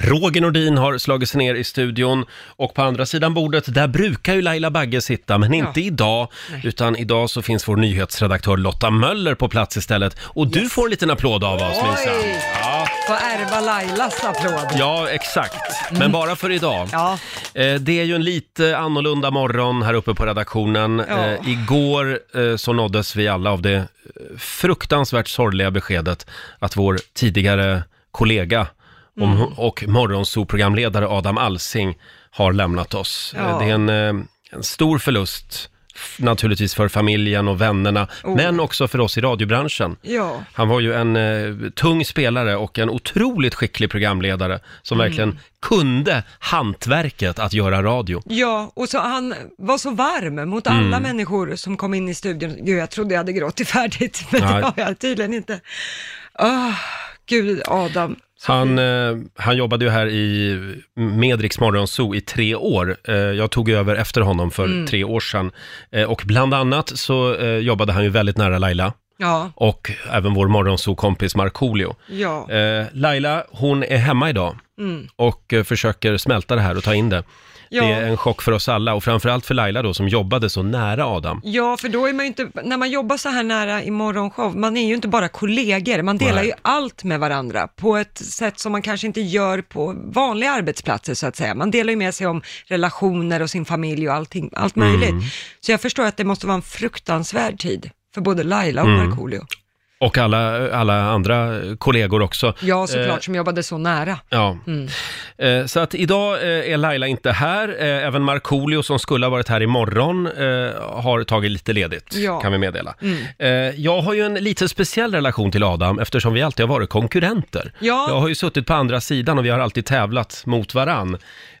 Roger Nordin har slagit sig ner i studion och på andra sidan bordet, där brukar ju Laila Bagge sitta, men inte idag. Utan idag så finns vår nyhetsredaktör Lotta Möller på plats istället. Och du får en liten applåd av oss, Lisa. Oj! Får ärva Lailas applåd. Ja, exakt. Men bara för idag. Ja. Eh, Det är ju en lite annorlunda morgon här uppe på redaktionen. Ja. Eh, Igår eh, så nåddes vi alla av det eh, fruktansvärt sorgliga beskedet att vår tidigare kollega Mm. om, och morgonsoprogramledare Adam Alsing har lämnat oss. Ja. Eh, Det är en, eh, en stor förlust f- naturligtvis för familjen och vännerna, Oh. men också för oss i radiobranschen. Ja. Han var ju en eh, tung spelare och en otroligt skicklig programledare som verkligen kunde hantverket att göra radio. Ja, och så han var så varm mot alla människor som kom in i studion. Gud, jag trodde jag hade gråtit färdigt, men Nej. det har jag tydligen inte. Ah, Gud, Adam. Han, eh, han jobbade ju här i Medriks morgonzoo i tre år. Eh, jag tog över efter honom för tre år sedan. Eh, och bland annat så eh, jobbade han ju väldigt nära Laila Ja, och även vår morgonzoo-kompis Markoolio. ja. Mm. Eh, Laila, hon är hemma idag och eh, försöker smälta det här och ta in det. Ja. Det är en chock för oss alla och framförallt för Laila då som jobbade så nära Adam. Ja, för då är man ju inte, när man jobbar så här nära i morgonshow, man är ju inte bara kollegor, man delar Nej. ju allt med varandra på ett sätt som man kanske inte gör på vanliga arbetsplatser så att säga. Man delar ju med sig om relationer och sin familj och allting, allt Mm. möjligt. Så jag förstår att det måste vara en fruktansvärd tid för både Laila och Markoolio. Mm. Och alla, alla andra eh, kollegor också. Ja, såklart, Mm. Eh, som jobbade så nära. ja. Eh, så att idag eh, är Laila inte här. Eh, även Markoolio som skulle ha varit här imorgon eh, har tagit lite ledigt, Ja. Mm. kan vi meddela. Eh, jag har ju en lite speciell relation till Adam eftersom vi alltid har varit konkurrenter. Ja. Jag har ju suttit på andra sidan och vi har alltid tävlat mot varann.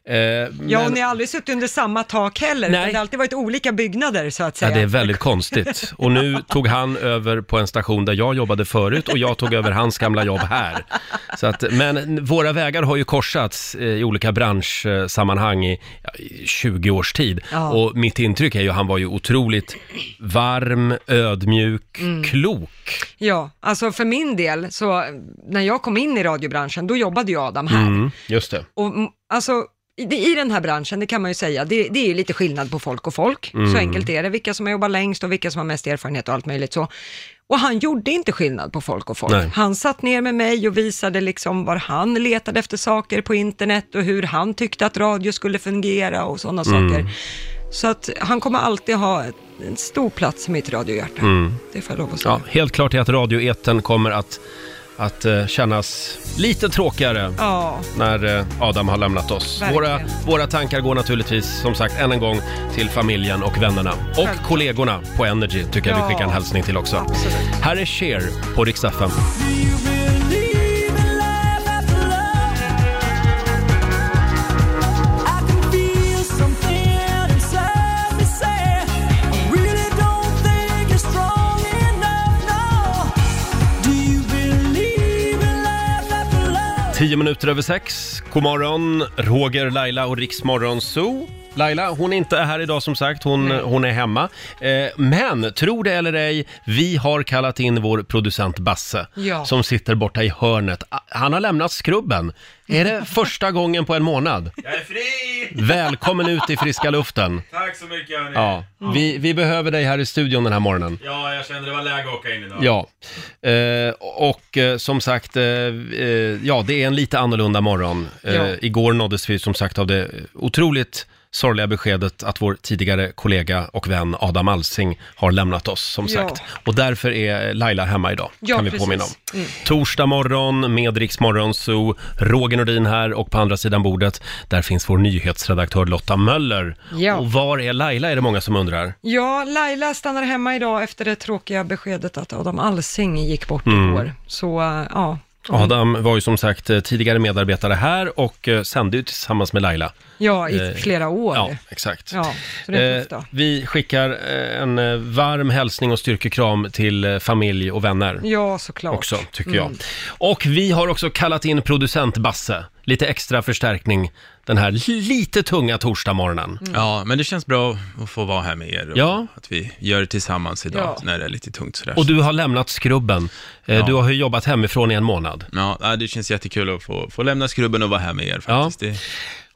Eh, Ja, men- och ni har aldrig suttit under samma tak heller, Nej. utan det har alltid varit olika byggnader så att Ja, säga. det är väldigt konstigt. Och nu tog han över på en station där jag jobbade förut och jag tog över hans gamla jobb här. Så att, men våra vägar har ju korsats eh, i olika branschsammanhang i, ja, i 20 års tid. Ja. Och mitt intryck är ju att han var ju otroligt varm, ödmjuk, Mm. klok. Ja, alltså för min del, så när jag kom in i radiobranschen, då jobbade ju Adam här. Mm, just det. Och mm, alltså, i, det- i den här branschen, det kan man ju säga, det, det är ju lite skillnad på folk och folk. Så enkelt är det, vilka som har jobbat längst och vilka som har mest erfarenhet och allt möjligt så. Och han gjorde inte skillnad på folk och folk. Nej. Han satt ner med mig och visade liksom var han letade efter saker på internet och hur han tyckte att radio skulle fungera och sådana saker. Så att han kommer alltid ha ett- en stor plats i mitt radiohjärta. Det får jag lov att säga. Mm. Ja, helt klart är att radioeten kommer att, att eh, kännas lite tråkigare Ja. när eh, Adam har lämnat oss. Verkligen. Våra, våra tankar går naturligtvis, som sagt, än en gång till familjen och vännerna. Och kollegorna på Energy tycker jag vi Ja. skickar en hälsning till också. Här är Cher på riksdag fem. Tio minuter över sex. God morgon, Roger, Laila och Riksmorgon Zoo. Laila, hon är inte här idag som sagt, hon, hon är hemma. Eh, men, tro det eller ej, vi har kallat in vår producent Basse Ja. som sitter borta i hörnet. Ah, Han har lämnat skrubben. Är det första gången på en månad? Jag är fri! Välkommen ut i friska luften. Tack så mycket hörni. Ja, vi, vi behöver dig här i studion den här morgonen. ja, jag kände det var läge att åka in idag. Ja, eh, och eh, som sagt, eh, eh, ja det är en lite annorlunda morgon. Eh, Ja. Igår nåddes vi som sagt av det otroligt sorgliga beskedet att vår tidigare kollega och vän Adam Alsing har lämnat oss som Ja. sagt. Och därför är Laila hemma idag, Ja, kan vi precis. Mm. påminna om. Torsdag morgon med Rix Morgon Zoo, Roger Nordin här och på andra sidan bordet, där finns vår nyhetsredaktör Lotta Möller. Ja. Och var är Laila är det många som undrar. Ja, Laila stannar hemma idag efter det tråkiga beskedet att Adam Alsing gick bort Mm. igår. Så eh, ja, Adam var ju som sagt eh, tidigare medarbetare här och eh, sände ju tillsammans med Laila. ja i Eh, flera år. Ja, Ja. exakt. så det är en Eh, tuff dag. vi skickar eh, en eh, varm hälsning och styrkekram till eh, familj och vänner Ja, såklart. Mm. också, tycker jag. Och vi har också kallat in producent Basse. lite extra förstärkning den här lite tunga torsdagsmorgonen. Ja, men det känns bra att få vara här med er och Ja. att vi gör det tillsammans idag Ja. när det är lite tungt sådär. Och du har lämnat skrubben. Eh, Du har ju jobbat hemifrån i en månad. Ja, nej, det känns jättekul att få, få lämna skrubben och vara här med er faktiskt. Det,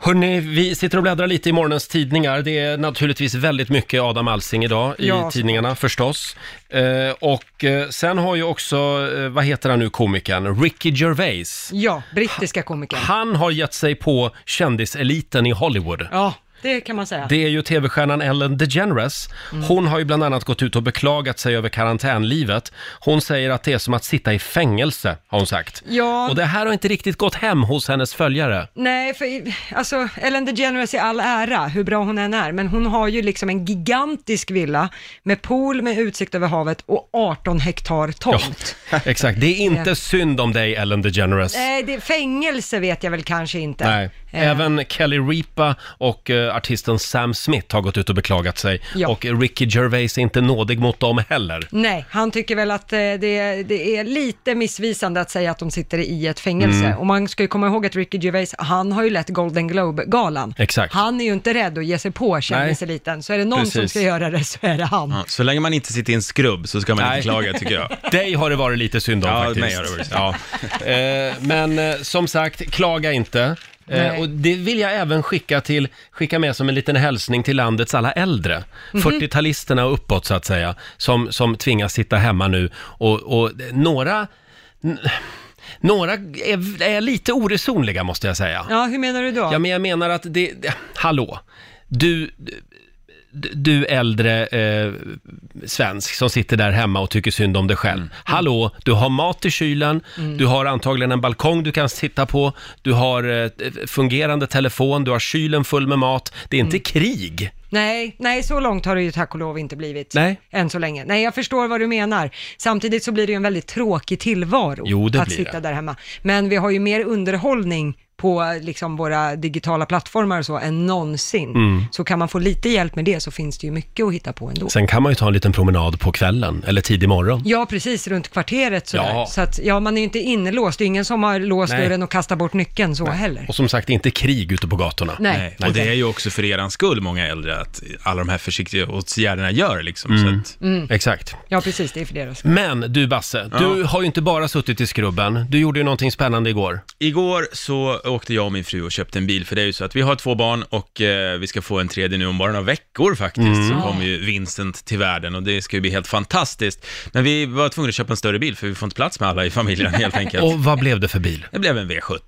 Hörni, vi sitter och bläddrar lite i morgonens tidningar. Det är naturligtvis väldigt mycket Adam Alsing idag i Ja. tidningarna förstås. Eh, och eh, sen har ju också, eh, vad heter han nu, komikern, Ricky Gervais. Ja, brittiska komikern. Han har gett sig på kändiseliten i Hollywood. Ja, det kan man säga. Det är ju tv-stjärnan Ellen DeGeneres. Mm. Hon har ju bland annat gått ut och beklagat sig över karantänlivet. Hon säger att det är som att sitta i fängelse, har hon sagt. Ja. Och det här har inte riktigt gått hem hos hennes följare. Nej, för i- alltså Ellen DeGeneres i all ära, hur bra hon än är, men hon har ju liksom en gigantisk villa med pool med utsikt över havet och 18 hektar tomt. Exakt, det är inte synd om dig Ellen DeGeneres. Nej, det, fängelse vet jag väl kanske inte. Nej. Eh, Även Kelly Ripa och eh, artisten Sam Smith har gått ut och beklagat sig. Ja. Och Ricky Gervais är inte nådig mot dem heller. Nej, han tycker väl att eh, det, det är lite missvisande att säga att de sitter i ett fängelse. Mm. Och man ska ju komma ihåg att Ricky Gervais, han har ju lett Golden Globe-galan. Exakt. Han är ju inte rädd att ge sig på kändiseliten, så är det någon som Precis. ska göra det så är det han. ja, så länge man inte sitter i en skrubb så ska man Nej. inte klaga tycker jag. Dig har det varit lite synd om Ja, mig faktiskt. har det varit synd. ja. eh, men eh, som sagt, klaga inte. Eh, Nej. och det vill jag även skicka, till, skicka med som en liten hälsning till landets alla äldre. Mhm. 40-talisterna och uppåt så att säga, som, som tvingas sitta hemma nu. Och, och några, n- några är, är lite oresonliga måste jag säga. Ja, hur menar du då? Ja, men jag menar att det... det hallå! Du, du, du äldre eh, svensk som sitter där hemma och tycker synd om dig själv. Mm. Hallå, du har mat i kylen, du har antagligen en balkong du kan sitta på, du har eh, fungerande telefon, du har kylen full med mat. Det är inte Mm. krig. Nej, nej, så långt har det ju tack och lov inte blivit. Nej. Än så länge. Nej, jag förstår vad du menar. Samtidigt så blir det ju en väldigt tråkig tillvaro Jo, det att blir sitta det. där hemma. Men vi har ju mer underhållning på eh, liksom våra digitala plattformar och så än någonsin. Mm. Så kan man få lite hjälp med det så finns det ju mycket att hitta på ändå. Sen kan man ju ta en liten promenad på kvällen eller tidig morgon. Ja, precis, runt kvarteret sådär. Ja. Så att, ja, man är ju inte inlåst. Det är ingen som har låst Nej. dörren och kastat bort nyckeln så heller. Och som sagt, det är inte krig ute på gatorna. Nej. Och det är ju också för eran skull, många äldre, att alla de här försiktiga åtgärderna gör liksom. Så att, Mm. Exakt. Mm. Ja, precis, det är för deras skull. Men du Basse, du har ju inte bara suttit i skrubben. Du gjorde ju någonting spännande igår. Igår så åkte jag och min fru och köpte en bil, för det är ju så att vi har två barn och eh, vi ska få en tredje nu om bara några veckor faktiskt, Mm. så kommer ju Vincent till världen och det ska ju bli helt fantastiskt. Men vi var tvungna att köpa en större bil, för vi får inte plats med alla i familjen helt enkelt. Och vad blev det för bil? Det blev en V70.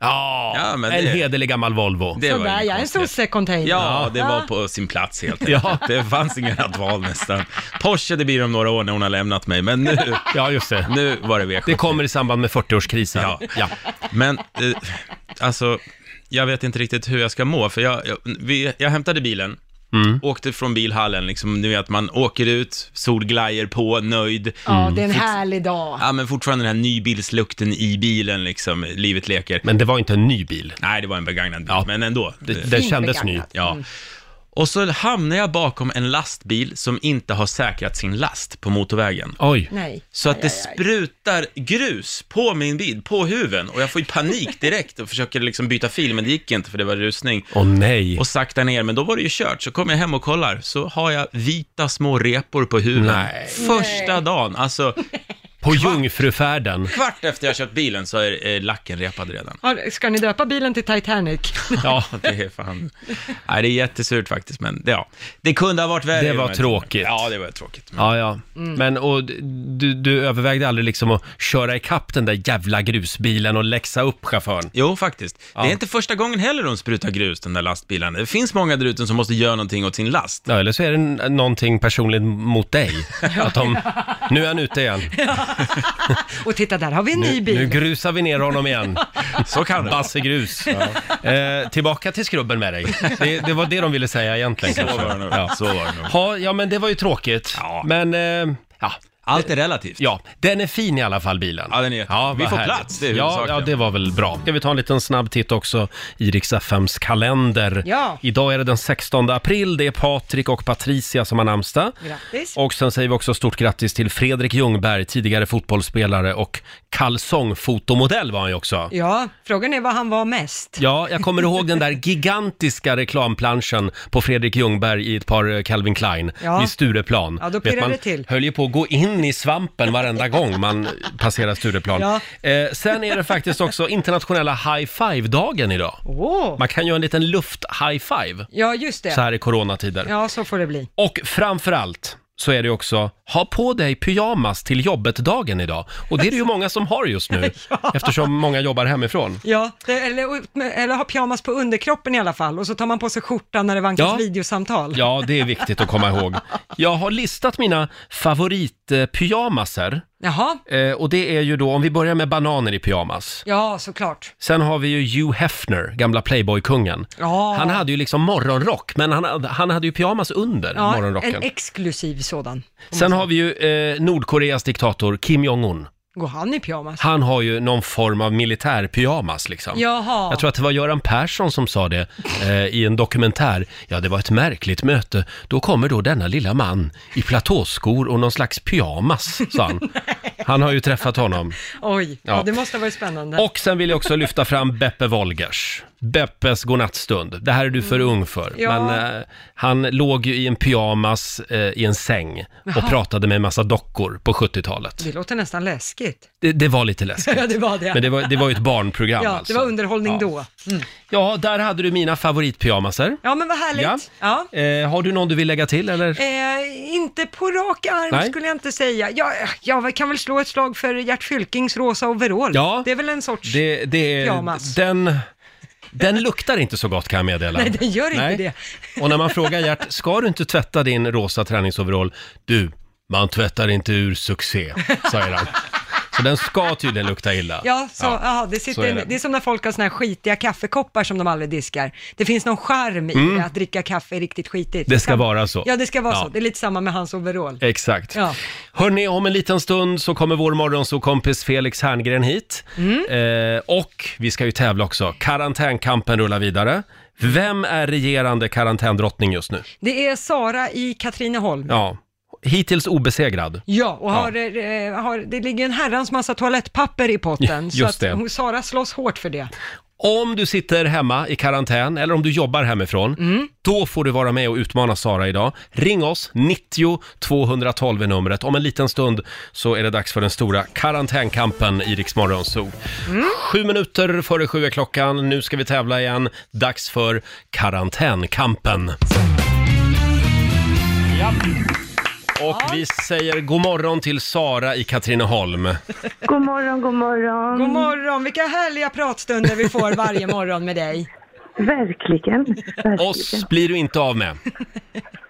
Ja, Ja, men en det- hederlig gammal Volvo. Det var Sådär, inget jag är en konstigt. sosse-container. Ja, det var på sin plats helt enkelt. Ja. Det fanns inget annat val nästan. Porsche, det blir om några år när hon har lämnat mig, men nu, Ja, just det. nu var det V70. Det kommer i samband med 40-årskrisen. Ja. ja. Men, eh, alltså, jag vet inte riktigt hur jag ska må, för jag, jag, vi, jag hämtade bilen, Mm. åkte från bilhallen, liksom, nu att man åker ut, solglajer på, nöjd. Ja, det är en Mm. härlig dag. Ja, men fortfarande den här nybilslukten i bilen, liksom, livet leker. Men det var inte en ny bil. Nej, det var en begagnad bil, Ja. men ändå. Det, Eh, den Fint kändes ny. begagnat. Ja. Och så hamnar jag bakom en lastbil som inte har säkrat sin last på motorvägen. Oj. Nej. Så att det sprutar grus på min bil, på huven. Och jag får ju panik direkt och försöker liksom byta fil, men det gick inte för det var rusning. Åh nej. Och sakta ner, men då var det ju kört. Så kommer jag hem och kollar, så har jag vita små repor på huven. Nej. Första dagen, alltså På Jungfrufärden. kvart efter jag köpt bilen så är eh, lacken repad redan. Har- Ska ni döpa bilen till Titanic? Ja, det är fan... Nej, det är jättesurt faktiskt, men det- ja. Det kunde ha varit värre. Det var men- tråkigt. Ja, det var tråkigt. Men... Ja, ja. Mm. Men och du, du övervägde aldrig liksom att köra ikapp den där jävla grusbilen och läxa upp chauffören? Jo, faktiskt. Det är inte första gången heller de sprutar grus, den där lastbilen. Det finns många där ute som måste göra någonting åt sin last. Ja, eller så är det n- någonting personligt mot dig. Att de, nu är han ute igen. Och titta, där har vi en ny bil. Nu grusar vi ner honom igen. Så kan det vara. Basse Grus. Eh, tillbaka till skrubben med dig. Det, det var det de ville säga egentligen Så kanske. var det nog. Ja. Så var det nog. Ha, ja, men det var ju tråkigt. Ja. Men, eh, ja. Allt är relativt. Ja, den är fin i alla fall bilen. Ja, den är jättefin. vad Vi får härligt. plats, det är ja, huvudsaken. ja, det var väl bra. Ska vi ta en liten snabb titt också i Rix FMs kalender. Ja. Idag är det den 16 april, det är Patrik och Patricia som har namnsdag. Grattis. Och sen säger vi också stort grattis till Fredrik Ljungberg, tidigare fotbollsspelare och kalsongfotomodell var han ju också. Ja, frågan är vad han var mest. Ja, jag kommer ihåg den där gigantiska reklamplanschen på Fredrik Ljungberg i ett par eh, Calvin Klein Ja. vid Stureplan. Ja, då Vet pirrar man det till. höll ju på att gå in i svampen varenda gång man passerar Stureplan. Ja. Eh, sen är det faktiskt också internationella high five-dagen idag. Åh. Man kan göra en liten luft-high five Ja, just så det. här i coronatider. Ja, så får det bli. Och framför allt så är det också, ha på dig pyjamas till jobbet-dagen idag. Och det är det ju många som har just nu, eftersom många jobbar hemifrån. Ja, det- eller, eller ha pyjamas på underkroppen i alla fall och så tar man på sig skjortan när det vankas Ja. videosamtal. Ja, det är viktigt att komma ihåg. Jag har listat mina favoritpyjamaser. Jaha, Eh, och det är ju då, om vi börjar med bananer i pyjamas. ja såklart. Sen har vi ju Hugh Hefner, gamla Playboy-kungen. Ja. Han hade ju liksom morgonrock, men han, hade- han hade ju pyjamas under Ja, morgonrocken. en exklusiv sådan. Sen har vi ju eh, Nordkoreas diktator Kim Jong-Un. Går han i pyjamas? Han har ju någon form av militärpyjamas liksom. Jaha. Jag tror att det var Göran Persson som sa det eh, i en dokumentär. Ja, det var ett märkligt möte. Då kommer då denna lilla man i platåskor och någon slags pyjamas, sa han. Han har ju träffat honom. Oj, ja. Ja. det måste ha varit spännande. Och sen vill jag också lyfta fram Beppe Wolgers. Beppes godnattstund. Det här är du för ung för. Mm. Ja. Men eh, han låg ju i en pyjamas eh, i en säng och pratade med en massa dockor på 70-talet. Det låter nästan läskigt. Det, det var lite läskigt. Ja, det var det. Men det var, det var ju ett barnprogram ja, alltså. det var underhållning ja. då. Mm. Ja, där hade du mina favoritpyjamaser. Ja, men vad härligt. Ja. Eh, har du någon du vill lägga till eller? Eh, inte på rak arm Nej. skulle jag inte säga. Jag, jag kan väl slå ett slag för Gert Fylkings rosa overall. Ja. Det är väl en sorts... Det, det är, Pyjamas. den, den luktar inte så gott kan jag meddela. Nej, den gör inte det. Och när man frågar Gert, ska du inte tvätta din rosa träningsoverall? Du, man tvättar inte ur succé, säger han. Så den ska tydligen lukta illa. Ja, så, ja. det, sitter, så är en- det. det är som när folk har såna här skitiga kaffekoppar som de aldrig diskar. Det finns någon charm i det, att dricka kaffe är riktigt skitigt. Mm. Det ska Sam- vara så. Ja, det ska vara Ja. så. Det är lite samma med hans overall. Exakt. Ja. Hörni, om en liten stund så kommer vår morgonsåkompis Felix Herngren hit. Eh, och vi ska ju tävla också. Karantänkampen rullar vidare. Vem är regerande karantändrottning just nu? Det är Sara i Katrineholm. Ja. Ja, hittills obesegrad. och har, eh, har, det ligger en herrans massa toalettpapper i potten. Ja, just så det. att hon, Sara slåss hårt för det. Om du sitter hemma i karantän eller om du jobbar hemifrån, då får du vara med och utmana Sara idag. Ring oss, 90 212 är numret. Om en liten stund så är det dags för den stora karantänkampen i Rix Morgon Zoo. Sju minuter före sju är klockan, nu ska vi tävla igen. Dags för karantänkampen. Ja. Och vi säger god morgon till Sara i Katrineholm. God morgon, god morgon. God morgon, vilka härliga pratstunder vi får varje morgon med dig. Verkligen. verkligen. Oss blir du inte av med.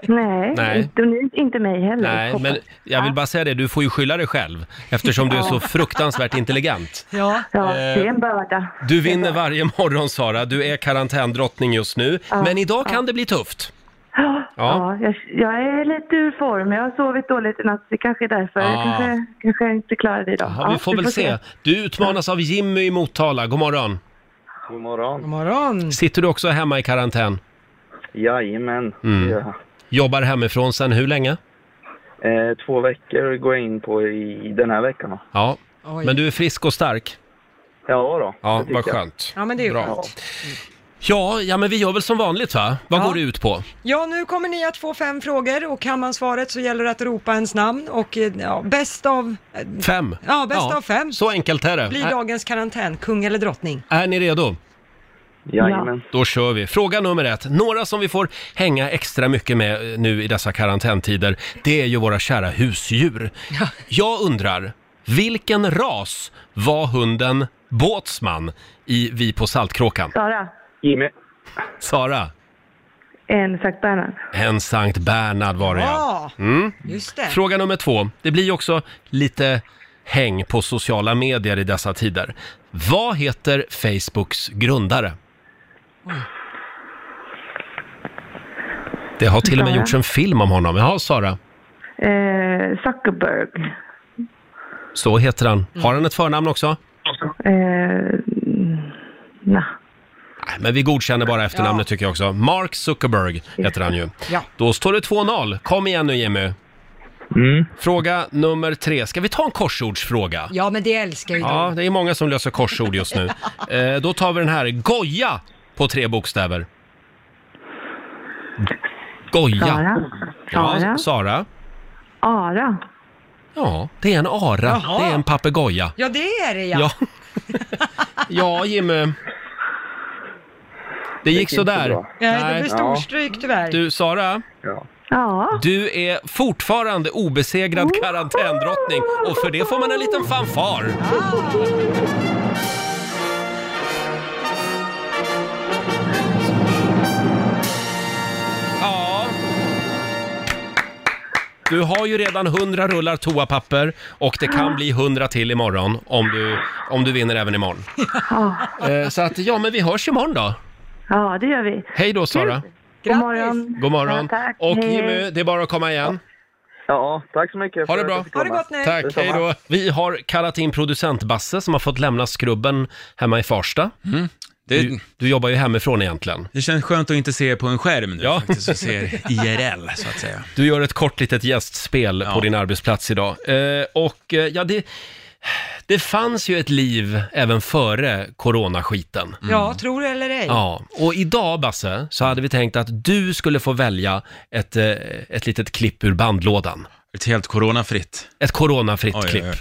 Nej, Nej. Inte, och ni, inte mig heller. Nej, hoppas. men jag vill bara säga det, du får ju skylla dig själv eftersom du är så fruktansvärt intelligent. Ja, Ja, Eh. det är en börda. Du vinner varje morgon Sara, du är karantändrottning just nu, men idag kan det bli tufft. Ja, Ja. ja. jag, jag är lite ur form. Jag har sovit dåligt i natt, så det kanske är därför. Ah. Jag kanske, kanske inte klarar det idag. Ja, vi får väl se. Du utmanas av Jimmy i Motala, god morgon. God morgon. god morgon. Sitter du också hemma i karantän? Jajamän. Mm. Ja. Jobbar hemifrån sedan hur länge? Eh, två veckor går jag in på i den här veckan. Då. Ja, Oj. men du är frisk och stark? Ja då. det Ja, tycker vad jag. skönt. Ja, men det är ju Bra. skönt. Ja, ja men vi gör väl som vanligt va? Vad Ja. går det ut på? Ja, nu kommer ni att få fem frågor och kan man svaret så gäller det att ropa ens namn och eh, ja, bäst av... eh, Fem? Ja, bäst av fem. Så enkelt är det. Blir Är, dagens karantän kung eller drottning? är ni redo? Jajamän. Då kör vi. Fråga nummer ett. Några som vi får hänga extra mycket med eh, nu i dessa karantäntider, det är ju våra kära husdjur. Jag undrar, vilken ras var hunden Båtsman i Vi på Saltkråkan? Sara, Jimmy. Sara, en Sankt Bernhard. en Sankt Bernhard var det ja. Mm. just det. Fråga nummer två. Det blir ju också lite häng på sociala medier i dessa tider. Vad heter Facebooks grundare? Det har till och med Sara. gjorts en film om honom. Jaha, Sara. Eh, Zuckerberg. Så heter han. Har han ett förnamn också? Eh, na. Nej, men vi godkänner bara efternamnet tycker jag också. Mark Zuckerberg heter han ju. Ja. Då står det 2-0. Kom igen nu Jimmy. Mm. Fråga nummer tre. Ska vi ta en korsordsfråga? Ja, men det älskar ju Ja, de. det är många som löser korsord just nu. Eh, då tar vi den här. Goja på tre bokstäver. Goja. Sara. Ja, Sara. Sara. Ara. Ja, det är en ara. Jaha. Det är en papegoja. Ja, det är det ja. Ja. ja, Jimmy. Det gick inte sådär. bra. Nej, det blir Ja. storstryk tyvärr. Du, Mm. Sara, Ja. Ja. du är fortfarande obesegrad karantändrottning och för det får man en liten fanfar. Ja. Du har ju redan 100 rullar toapapper och det kan bli 100 till imorgon om du, om du vinner även imorgon. Ja. Eh, så att, ja men vi hörs imorgon då. ja, det gör vi. Hej då Sara. God Grattis. morgon. God morgon. Ja, tack. Och Hej. Jimmy, det är bara att komma igen. ja, tack så mycket. Ha för det bra. att jag fick Ha det komma. gott nu. Tack, hej Detsamma. då. Vi har kallat in producent Basse som har fått lämna skrubben hemma i Farsta. Mm. Det, Du, du jobbar ju hemifrån egentligen. det känns skönt att inte se er på en skärm nu Ja. faktiskt, och se er IRL så att säga. Du gör ett kort litet gästspel på Ja. din arbetsplats idag. Eh, och eh, ja, det, det fanns ju ett liv även före coronaskiten. Mm. typ. Ja, tror du eller ej. Ja, och idag Basse, så hade vi tänkt att du skulle få välja ett, eh, ett litet klipp ur bandlådan. Ett helt coronafritt Ett coronafritt Oj, oj, klipp. oj.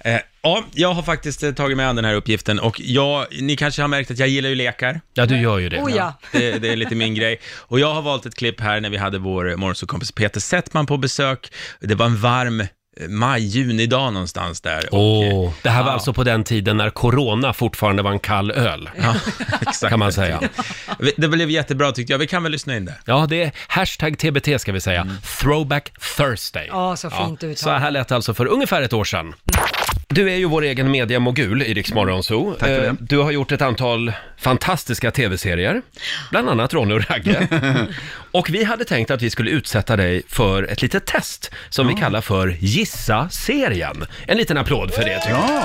Eh, ja, jag har faktiskt eh, tagit mig an den här uppgiften och jag, ni kanske har märkt att jag gillar ju lekar. Ja, du gör ju det. Oh, ja. Det, det är lite min grej. Och jag har valt ett klipp här när vi hade vår morgonsåkompis Peter Settman på besök. Det var en varm eh, maj-junidag någonstans där. Och, eh, Åh, det här var Ja. alltså på den tiden när corona fortfarande var en kall öl, ja, exakt. kan man säga. Det blev jättebra tyckte jag. Vi kan väl lyssna in det. Mm. Ja, det är hashtag TBT ska vi säga. Throwback Thursday. Ja, så fint uttalat. Så här lät det alltså för ungefär ett år sedan. Du är ju vår egen mediamogul i Rix Morgon Zoo. Tack för det. Eh, Du har gjort ett antal fantastiska tv-serier, bland annat Ronny och Ragge. och vi hade tänkt att vi skulle utsätta dig för ett litet test som vi kallar för Gissa-serien. En liten applåd för det tycker jag.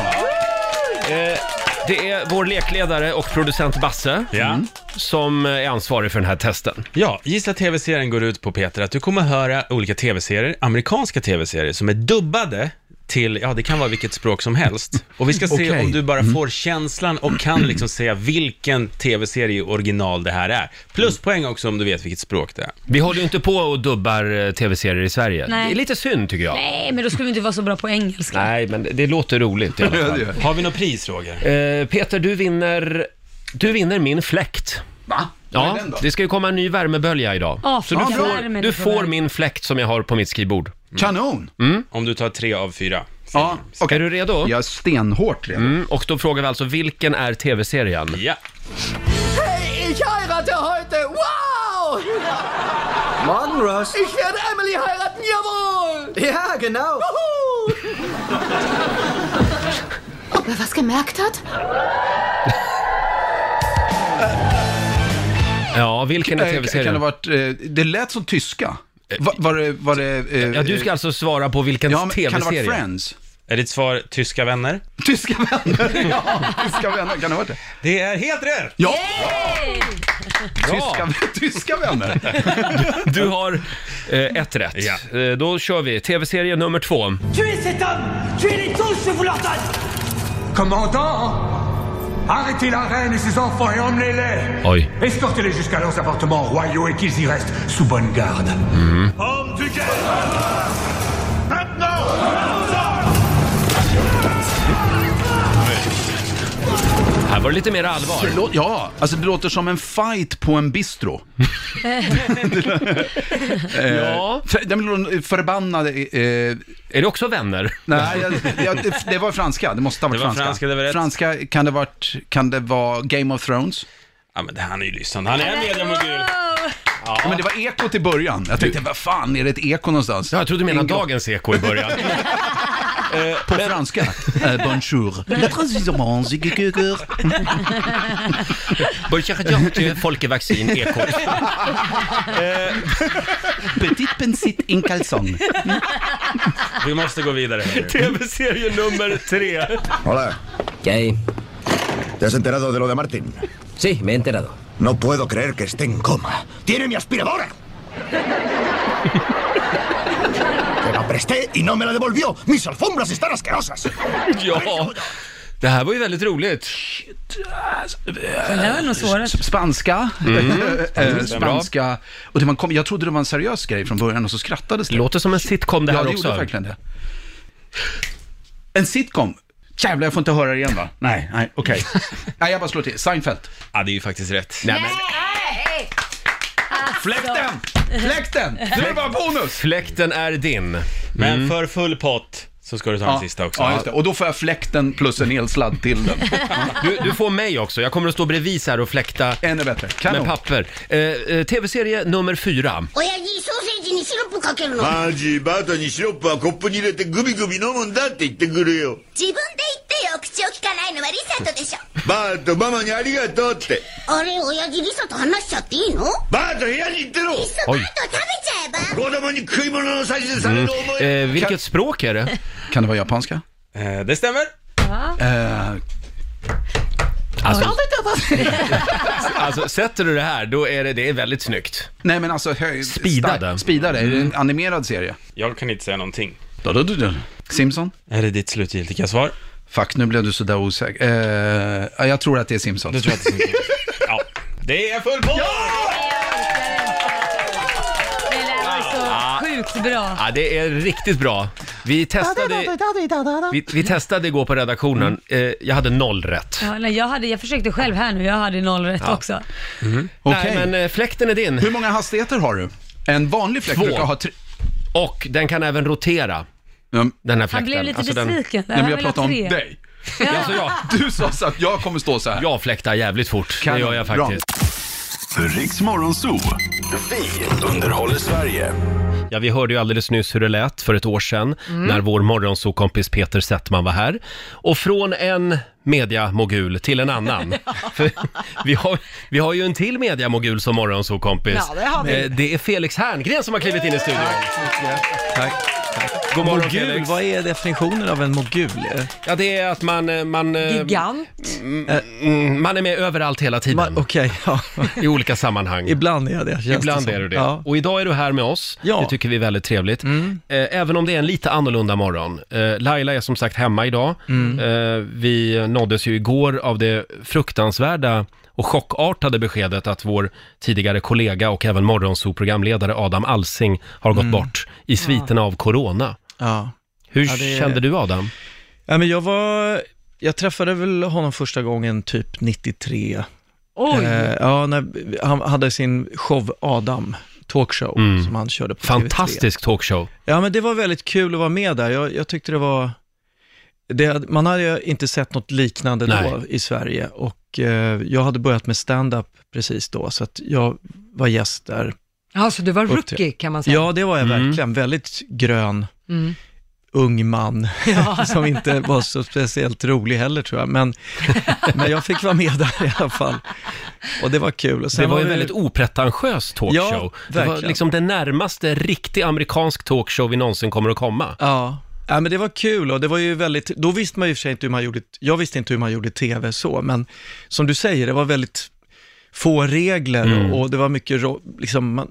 Eh, Det är vår lekledare och producent Basse Mm. som är ansvarig för den här testen. Ja, Gissa TV-serien går ut på Peter att du kommer höra olika TV-serier, amerikanska TV-serier som är dubbade till, ja det kan vara vilket språk som helst. Och vi ska se Okej. Mm. om du bara får känslan och kan liksom säga vilken TV-serie i original det här är. Pluspoäng också om du vet vilket språk det är. Vi håller ju inte på och dubbar eh, tv-serier i Sverige. Nej. Det är lite synd tycker jag. Nej, men då skulle vi inte vara så bra på engelska. Nej, men det- det låter roligt i alla fall. Har vi något pris Roger? Eh, Peter, du vinner, du vinner min fläkt. Va? Ja, det ska ju komma en ny värmebölja idag. Ja, Så du fan, får, värmen är du på får väg. min fläkt som jag har på mitt skrivbord. Mm. Kanon! Om du tar tre av fyra. Ja, okej. Är du redo? Jag är stenhårt redo. Mm, och då frågar vi alltså, vilken är tv-serien? Ja. Ich heirate heute! Wow! Morgen, Russ. Ich werde Emily heiraten, jawohl! Ja, genau. Ob er was gemerkt hat? Ja, vilken är Eh, Kan det, tv-serien? Eh, varit, eh, det lät som tyska. Var, var det... Var det eh, Ja, du ska alltså svara på vilken ja, men kan det vara tv-serie? Friends? Är ditt svar tyska vänner? Tyska vänner! Ja, tyska vänner. Kan det vara det? Det är helt rätt! Ja, Ja, tyska, tyska vänner. du har eh, ett rätt. Ja. Eh, då kör vi. Tv-serie nummer två. Tuez cet homme Tuez les tous, je vous l'ordonne Commandant Arrêtez la reine et ses enfants et emmenez-les Oj. Escortez-les jusqu'à leurs appartements royaux et qu'ils y restent sous bonne garde. Mm. Om du kan! Öppna! Här var det lite mer allvar. Lå- Ja, alltså det låter som en fight på en bistro. Ja. Eh, För- Den blir förbannad... Eh, Är det också vänner? nej, jag, jag, det- det var franska. Det måste ha varit Det var franska. franska, det var rätt. franska, kan det varit, kan det vara Game of Thrones? Ja men det här är ju lyssnande. Han är en mediamogul. Ja, men det var ekot i början. Jag tänkte, vad fan, är det ett eko någonstans? Ja, jag trodde du menade Ingo- dagens eko i början. På franska. Eh, bonjour. La transition, ziggugur. Bonjour, Folkevaccin, E ekot. Petite pensit in calzong. Vi måste gå vidare. hörru. Tv-serie nummer tre. Hola. ¿Qué hay? ¿Te has enterado de lo de Martin? Sí, me he enterado. No puedo creer que esté en coma. ¡Tiene mi aspiradora! Te la presté y no me la devolvió. Mis alfombras están asquerosas. Ja, det här var ju väldigt roligt. Den där var nog svårast. S- Spanska. Mm. Eh, Bra. Spanska. Och det man kom, jag trodde det var en seriös grej från början och så skrattades det. Låter som en sitcom det här ja, det också. gjorde verkligen det. En sitcom. Jävlar, jag får inte höra det igen va? Nej, nej, okej. nej, jag bara slår till. Seinfeld. Ja, det är ju faktiskt rätt. Nej, men, Fläkten! Fläkten! Nu är det bara bonus! fläkten är din. Mm. Men för full pott så ska du ta den sista också. Ja, just det. Och då får jag fläkten plus en elsladd till den. Du, du får mig också. Jag kommer att stå bredvid så här och fläkta Ännu bättre. med Kanon. papper. Eh, eh, Tv-serie nummer fyra. 親父ソーセージにシロップかけるの自分でマジ、バートにシロップはコップに入れてグビグビ飲むんだって言ってくれよ。言ってよ口を聞かないのはリサとでしょバート、ママにありがとうって。あれ親父リサと話しちゃっていいのバート、部屋に行ってろいっそおバいット食べちゃえば子供に食い物の指図される思い。 Eh, vilket språk är det? Kan det vara japanska? Eh, Det stämmer. Eh, Alltså, alltså, sätter du det här, då är det, det är väldigt snyggt. nej men alltså höjd... Speedade. Mm. stark- Speedade. Är det en animerad serie? Jag kan inte säga någonting. Simpson? Är det ditt slutgiltiga svar? Fuck, nu blev du sådär osäker. Eh, ja, jag tror att det är Simpsons. Du tror att det är Simpsons? Ja. Det är full pott! Det där var Ah. så sjukt bra. Ja, det är riktigt bra. Vi testade, vi, vi testade igår på redaktionen. Eh, jag hade noll rätt. Ja, nej, jag, hade, jag försökte själv här nu, jag hade noll rätt också. Mhm. Okej. Nej, men eh, fläkten är din. Hur många hastigheter har du? En vanlig fläkt Två. brukar ha tre... Och den kan även rotera, Ja, den här Han fläkten. Alltså, blev lite den- besviken. nej, men Han jag vill ha pratar om tre. dig. Alltså, jag, Du sa så att jag kommer stå så här. jag fläktar jävligt fort. Kanon, det gör jag bra. faktiskt. Riks Morgonzoo. Vi underhåller Sverige. Ja, vi hörde ju alldeles nyss hur det lät för ett år sedan Mm. när vår morgonsokompis Peter Settman var här. Och från en mediamogul till en annan. För vi, har, vi har ju en till mediamogul som morgonsokompis. Ja, det har vi. Eh, Det är Felix Herngren som har klivit in i studion. Tack. God morgon Mogul, Felix. vad är definitionen av en mogul? Eh, Ja, det är att man... eh, man eh, Gigant. mm, man är med överallt hela tiden. Okej, ja. I olika sammanhang. Ibland är jag det. känns det Ibland som. är du det. Ja. Och idag är du här med oss. Ja. Mm. Det tycker vi är väldigt trevligt. Eh, Även om det är en lite annorlunda morgon. Eh, Laila är som sagt hemma idag. Mm. Eh, Vi nåddes ju igår av det fruktansvärda och chockartade beskedet att vår tidigare kollega och även morgonsoprogramledare Adam Alsing har gått bort i sviterna av corona. Mm. Ja. Hur Ja, det- kände du Adam? ja, men jag var... Jag träffade väl honom första gången typ 93. Oj! Eh, ja, när han hade sin show Adam, talkshow, Mm. som han körde på TV3. Fantastisk talkshow. Ja, men det var väldigt kul att vara med där. Jag, jag tyckte det var... Det, man hade ju inte sett något liknande då Nej. i Sverige och eh, jag hade börjat med stand-up precis då, så att jag var gäst där. Ja, så Alltså, du var Upp till- rookie kan man säga. Ja, det var jag Mm. verkligen. Väldigt grön, Mm. ung man, som inte var så speciellt rolig heller tror jag, men, men jag fick vara med där i alla fall. Och det var kul. Och sen Det var ju en det- väldigt opretentiös talkshow. Ja, det var verkligen. liksom den närmaste riktig amerikansk talkshow vi någonsin kommer att komma. Ja. ja, men det var kul och det var ju väldigt, då visste man ju i och för sig inte hur man gjorde, jag visste inte hur man gjorde tv så, men som du säger, det var väldigt få regler Mm. och, och det var mycket, ro- liksom, man,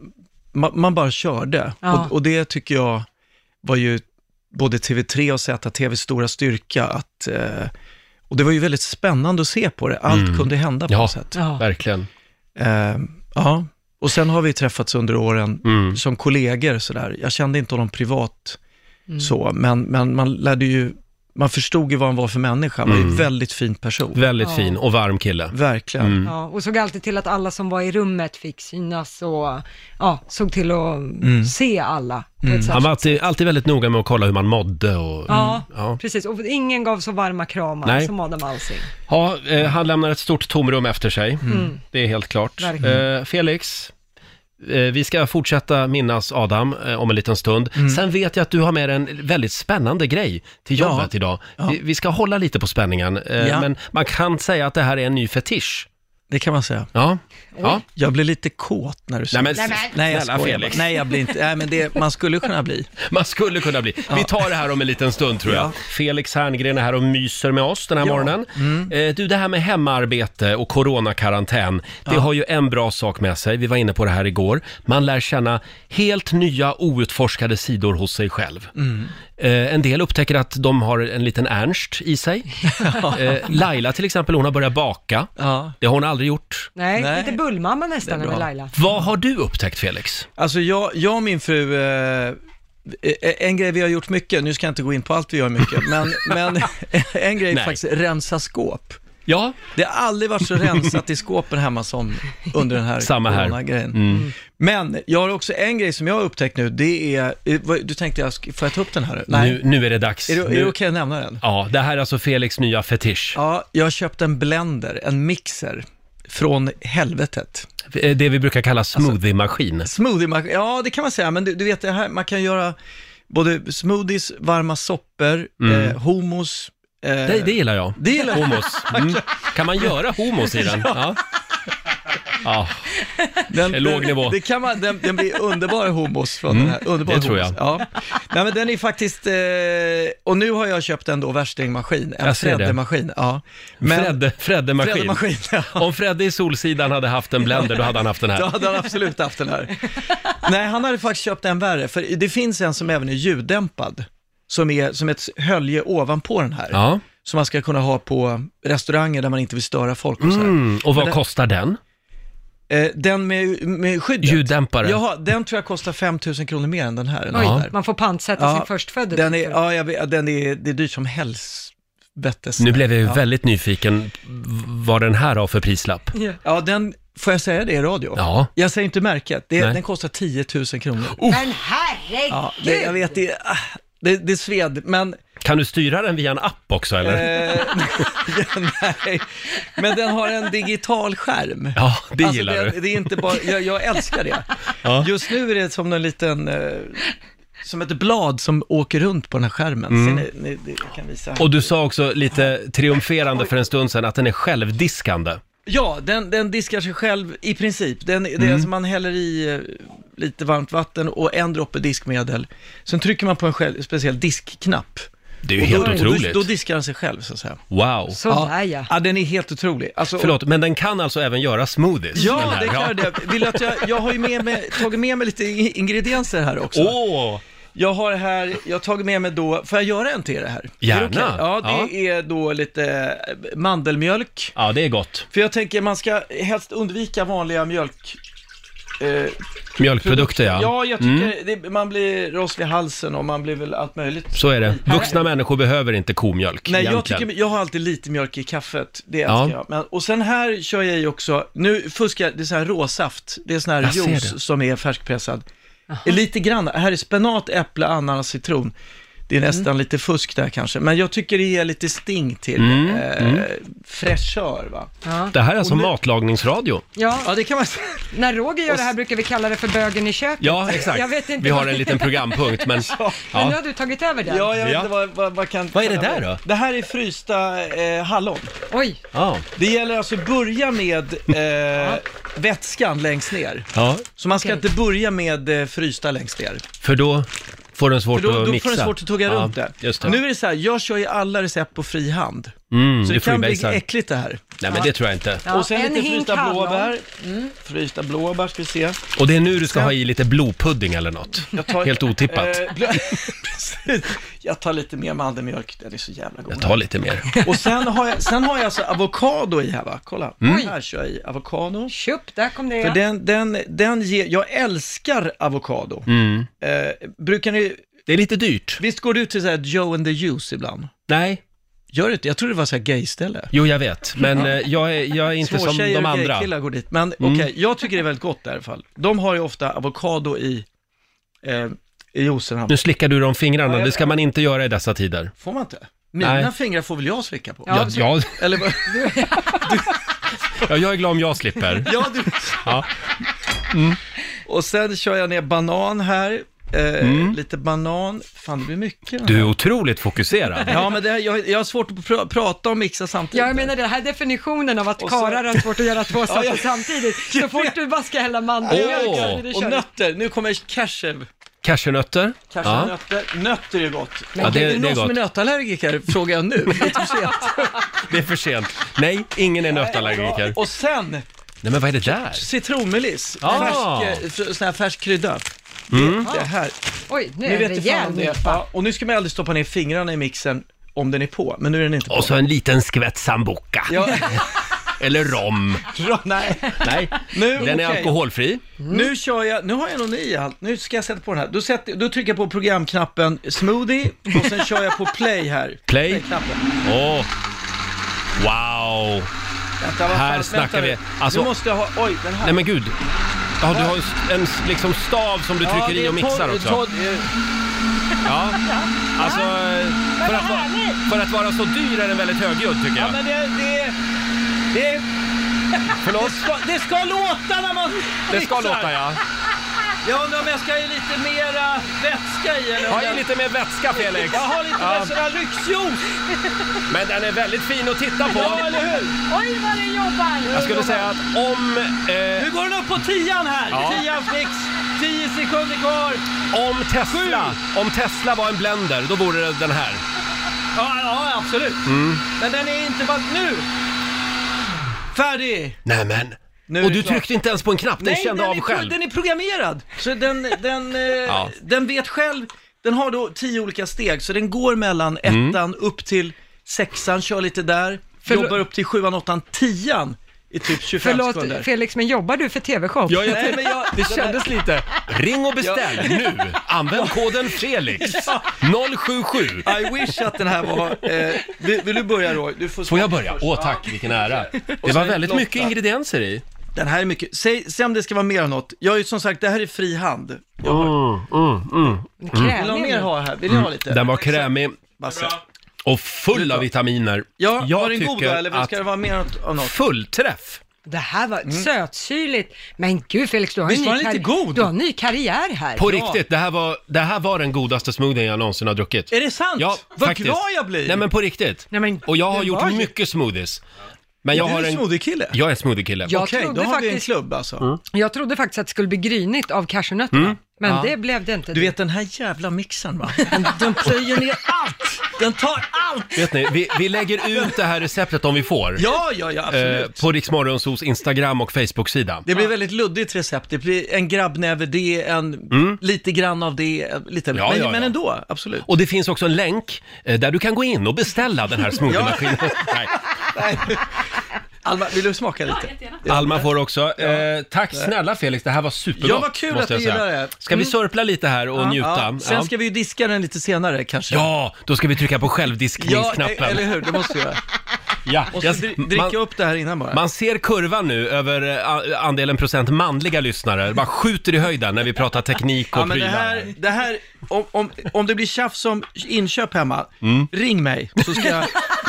man, man bara körde. Ja. Och, och det tycker jag var ju både TV3 och ZTVs stora styrka, att, eh, och det var ju väldigt spännande att se på det, allt Mm. kunde hända på Ja. något sätt. Ja. Verkligen. Eh, ja, och sen har vi träffats under åren Mm. som kollegor sådär. Jag kände inte honom privat så, men, men man lärde ju, man förstod ju vad han var för människa. Han var Mm. ju en väldigt fin person. Väldigt Ja. fin och varm kille. Verkligen. Mm. Ja, och såg alltid till att alla som var i rummet fick synas och ja, såg till att se alla. På ett Mm. Han särskilt var alltid, alltid väldigt noga med att kolla hur man mådde och... Mm. Ja, Ja. precis. Och ingen gav så varma kramar Nej. som Adam Alsing. Ja, Mm. eh, han lämnar ett stort tomrum efter sig. Det är Mm. helt klart. Verkligen. Eh, Felix, Eh, Vi ska fortsätta minnas Adam eh, om en liten stund. Sen vet jag att du har med dig en väldigt spännande grej till Mm. Ja. jobbet idag. Vi, vi ska hålla lite på spänningen, eh, Ja. men man kan säga att det här är en ny fetisch. Det kan man säga. Ja. ja. Jag blir lite kåt när du säger Nej, men, det. nej, jag snälla skojar Felix. bara. Nej, jag blir inte... Nej, men det, man skulle kunna bli. Man skulle kunna bli. Vi tar det här om en liten stund tror jag. Felix Herngren är här och myser med oss den här morgonen. Mm. Eh, Du, det här med hemarbete och coronakarantän, det har ju en bra sak med sig. Vi var inne på det här igår. Man lär känna helt nya outforskade sidor hos sig själv. Mm. Eh, En del upptäcker att de har en liten ernst i sig. Eh, Laila till exempel, hon har börjat baka. Det har hon aldrig gjort. Nej, Nej. lite bullmamma nästan Det är över bra. Laila. Vad har du upptäckt Felix? Alltså jag, jag och min fru, eh, eh, en grej vi har gjort mycket, nu ska jag inte gå in på allt vi gör mycket, men, men en grej är Nej. faktiskt rensa skåp. Ja. Det har aldrig varit så rensat i skåpen hemma som under den här Samma här. coronagrejen. Mm. Men jag har också en grej som jag har upptäckt nu, det är, eh, vad- du tänkte jag, sk- får jag ta upp den här? Nu, nu är det dags. Är det, är det Nu- okej att nämna den? Ja, det här är alltså Felix nya fetisch. Ja, jag har köpt en blender, en mixer, från helvetet. Eh, Det vi brukar kalla smoothie-maskin. Smoothie, ja det kan man säga, men du, du vet det här, man kan göra både smoothies, varma soppor, Mm. eh, hummus. Eh, det, det gillar jag. Det gillar jag. Hummus. Mm. Kan man göra hummus i den? Ja. ja. Den, Det är låg nivå. Det kan man, den, den blir underbar hummus från Mm, den här. Underbar det tror hummus. Ja. Nej men den är faktiskt, eh, och nu har jag köpt en då värstingmaskin, en Jag ser det. Fredde-maskin. Ja. Fredde, Fredde-maskin. Fredde-maskin, ja. Om Fredde i Solsidan hade haft en blender, då hade han haft den Då här. hade han absolut haft den här. Nej, han hade faktiskt köpt en värre, för det finns en som även är ljuddämpad, som är som ett hölje ovanpå den här. Ja. Som man ska kunna ha på restauranger där man inte vill störa folk och så här. Mm. Och Men vad den- kostar den? Eh, den med, med skyddet? Ljuddämpare. Jaha, den tror jag kostar 5 000 kronor mer än den här. Den Oj, här. man får pantsätta sin förstfödde. Den är, ja, jag vet, den är, det är dyrt som helvetes. Nu blev jag ju ja. väldigt nyfiken v- vad den här har för prislapp. Ja, den, får jag säga det i radio? Ja. Jag säger inte märket, det, Nej. den kostar 10 000 kronor. Oh. Men herregud! Ja, det, jag vet, det, ah, det, det sved, men... Kan du styra den via en app också eller? Eh, nej, men den har en digital skärm. Ja, det gillar Alltså, det, du. Det är inte bara, jag, jag älskar det. Ja. Just nu är det som en liten, eh, som ett blad som åker runt på den här skärmen. Mm. Ser ni, ni, det- jag kan visa. Och du sa också lite triumferande för en stund sedan att den är självdiskande. Ja, den, den diskar sig själv i princip. Den, det är Mm. alltså man häller i eh, lite varmt vatten och en droppe diskmedel. Sen trycker man på en själv, speciell diskknapp. Det är ju Och helt då, otroligt. Då, då diskar den sig själv så att säga. Wow. ja. ja. den är helt otrolig. Alltså, Förlåt, men den kan alltså även göra smoothies? den Ja, här. det kan jag det. Vill du att jag, jag har ju med mig, tagit med mig lite i- ingredienser här också. Åh! Jag har här, jag har tagit med mig då, får jag göra en till det här? Gärna. Är det okej? Ja, det är då lite eh, mandelmjölk. Ja, det är gott. För jag tänker man ska helst undvika vanliga mjölk... eh, Mjölkprodukter, ja. Ja, jag tycker Mm. det, man blir rosslig i halsen och man blir väl allt möjligt. Så är det. Vuxna människor behöver inte komjölk Nej, jag, egentligen. tycker, jag har alltid lite mjölk i kaffet. Det Ja. älskar jag. Men, och sen här kör jag i också, nu fuskar jag, det är sån här råsaft. Det är sån här Jag ser det. juice som är färskpressad. Eh, Lite grann, här är spenat, äpple, ananas, citron. Det är nästan lite fusk där kanske, men jag tycker det ger lite sting till Mm, eh, mm. fräschör va. Det här är alltså matlagningsradio. Ja. det kan man När Roger gör det här brukar vi kalla det för bögen i köket. Ja, exakt. Jag vet inte Vi har vad- en liten programpunkt, men... Men nu Ja. har du tagit över den. Ja, jag vet inte vad, vad, vad kan... Vad är det där då? Det här är frysta eh, hallon. Oj! Ja. Det gäller alltså att börja med eh, vätskan längst ner. ja, Så man ska inte börja med eh, frysta längst ner. för då får den För svårt då, att då mixa. får det svårt att tugga ja, runt det. Just det. Nu är det så här, jag kör ju alla recept på fri hand. Mm, så du det kan bli freebasar. äckligt det här. Nej, men det tror jag inte. Ja, och sen en lite hink frysta hallon. blåbär. Frysta blåbär ska vi se. Och det är nu du ska ha i lite blodpudding eller något. Helt otippat. Eh, blö- Precis. Jag tar lite mer mandelmjölk, den är så jävla god. Jag tar lite mer. Och sen har, jag, sen har jag alltså avokado i här va, kolla. Mm. Här kör jag i avokado. Tjup, där kom det För ja. den, den, den ger, jag älskar avokado. Mm. Eh, brukar ni... Det är lite dyrt. Visst går du till så här Joe and the Juice ibland? Nej. Gör du inte? Jag trodde det var så här gay-ställe. Jo, jag vet, men Ja. eh, jag är, jag är inte som Småtjejer de och andra. gaykillar går dit. Men Mm. okej, jag tycker det är väldigt gott i alla fall. De har ju ofta avokado i, eh, i juicen. Nu slickar du om fingrarna, det ska man inte göra i dessa tider. Får man inte? Mina Nej. fingrar får väl jag slicka på? Ja, ja, Eller vad? ja, Mm. jag är glad om jag slipper. Ja, du... Ja. Och sen kör jag ner banan här. Eh, Mm. Lite banan. Fan, det blir mycket. den Du är här. otroligt fokuserad. Ja, men det här, jag, jag har svårt att pra, prata och mixa samtidigt. Ja, jag menar den här definitionen av att karlar har svårt att göra två saker samtidigt. Så fort du bara ska hälla mandelmjölk Åh. så blir det Och kört. nötter. Nu kommer cashew. Cashewnötter? Cashewnötter. Nötter. nötter är gott. Ja, det- är det, det är någon som är gott. nötallergiker? Frågar jag nu. Det är för sent. Nej, ingen är nötallergiker. Och sen Nej, men vad är det där? citronmeliss. Ah. Färsk, eh, fr- sån här färsk krydda. Mm. Det här. Oj, nu Ni är det vet ju fan rejäl om det. nypa. Ja, och nu ska man aldrig stoppa ner fingrarna i mixen om den är på, men nu är den inte på. Och så en liten skvätt sambuca. Eller rom. Nej. Nej, Nu, den är okej. alkoholfri. Nu kör jag, nu har jag någon ny allt. Nu ska jag sätta på den här. Då, sätter, då trycker jag på programknappen smoothie och sen kör jag på play här. Play. Play-knappen. Åh, wow. Vänta, vad Här fan, snackar vänta vi. nu. Alltså- Nu måste jag ha, oj den här. Nej men gud. Ja, du har ju en liksom stav som du trycker det i är och mixar tolv- också. tolv- eh, Ja, alltså eh, för att, vara, för att vara så dyr är den väldigt högljudd tycker Ja jag. men det, det, det, Förlåt? det, ska, det ska låta när man Det ska mixar. låta ja. Jag undrar om jag ska ha i lite mera vätska i eller om Ha i jag- lite mer vätska Felix. Jag har lite Ja, mer sådär lyxjuice. Men den är väldigt fin att titta på. Ja, eller hur? Oj, vad det jobbar! Jag skulle säga att om, eh, Nu går den upp på tian här. Ja. Tian fix. Tio sekunder kvar. om, Tesla, om Tesla var en blender, då vore det den här. Ja, ja absolut. Mm. Men den är inte bara nu. Färdig. Nämen! Nu är Och det du klart. tryckte inte ens på en knapp, den kände den av är, själv. Den är programmerad. Så den, den, eh, Ja. den vet själv. Den har då tio olika steg, så den går mellan Mm. ettan upp till sexan, kör lite där, Förlåt- jobbar upp till sjuan, åttan, tian i typ 25 sekunder. Förlåt Felix, men jobbar du för TV-shop? Ja, jag- Nej, men jag, Det kändes lite. Ring och beställ nu! Använd koden Felix. 077. I wish att den här var... Eh, vill, vill du börja då? Du får, Får jag smaka börja? först. Åh Ja. tack, vilken ära. Och Det sen var väldigt Lotta. mycket ingredienser i. Den här är mycket. Säg, säg om det ska vara mer än något. Jag är ju som sagt, det här är fri hand. Mm, Jag har, Mm. vill någon mer ha här? Vill ni ha lite? Den var krämig Basse. och full av vitaminer. Ja, Jag var den god då, tycker eller ska att- det vara mer än något- av något? Fullträff! Det här var sötsyrligt. Men gud Felix, du har, Mm. Visst en var ny, den inte god? du har en ny karriär här. På riktigt, det här, var, det här var den godaste smoothien jag någonsin har druckit. Är det sant? Ja, Vad faktiskt. glad jag blir! Nej men på riktigt. Nej, men, Och jag har det gjort var ju- mycket smoothies. Men jag jag du har är en en... smoothie-kille. Jag är en smoothie-kille. Jag Okej, då trodde har vi en faktiskt, Mm. klubb alltså. jag trodde faktiskt att det skulle bli grynigt av cashewnötterna, men det blev det inte. Mm. Du vet den här jävla mixen va? Den, den plöjer ner allt! Den tar allt! Vet ni, vi, vi lägger ut det här receptet om vi får. Ja, ja, ja, absolut. eh, på Riksmorgonsos Instagram och Facebook-sida. det blir väldigt luddigt recept. Det blir en grabbnäve det, en lite grann av det, eh, lite, Mm. Ja, men, ja, ja. men ändå, absolut. Och det finns också en länk eh, där du kan gå in och beställa den här smoothiemaskinen. Nej. Alma, vill du smaka lite? Alma får också. Eh, tack snälla Felix, det här var supergott. Ja, vad kul måste att jag du säga. gillar det. Mm. Ska vi sörpla lite här och njuta? Ja, sen ska ja. vi ju diska den lite senare kanske. ja, då ska vi trycka på ja självdiskningsknappen. e- eller hur, det måste vi göra. Ja, Och så jag- dri- dricka man- upp det här innan bara. Man ser kurvan nu över eh, a- andelen procent manliga lyssnare. Det bara skjuter i höjden när vi pratar teknik och Ja, men det prylar. här, det här om, om, om det blir tjafs om inköp hemma, ring mig så ska jag... Mm.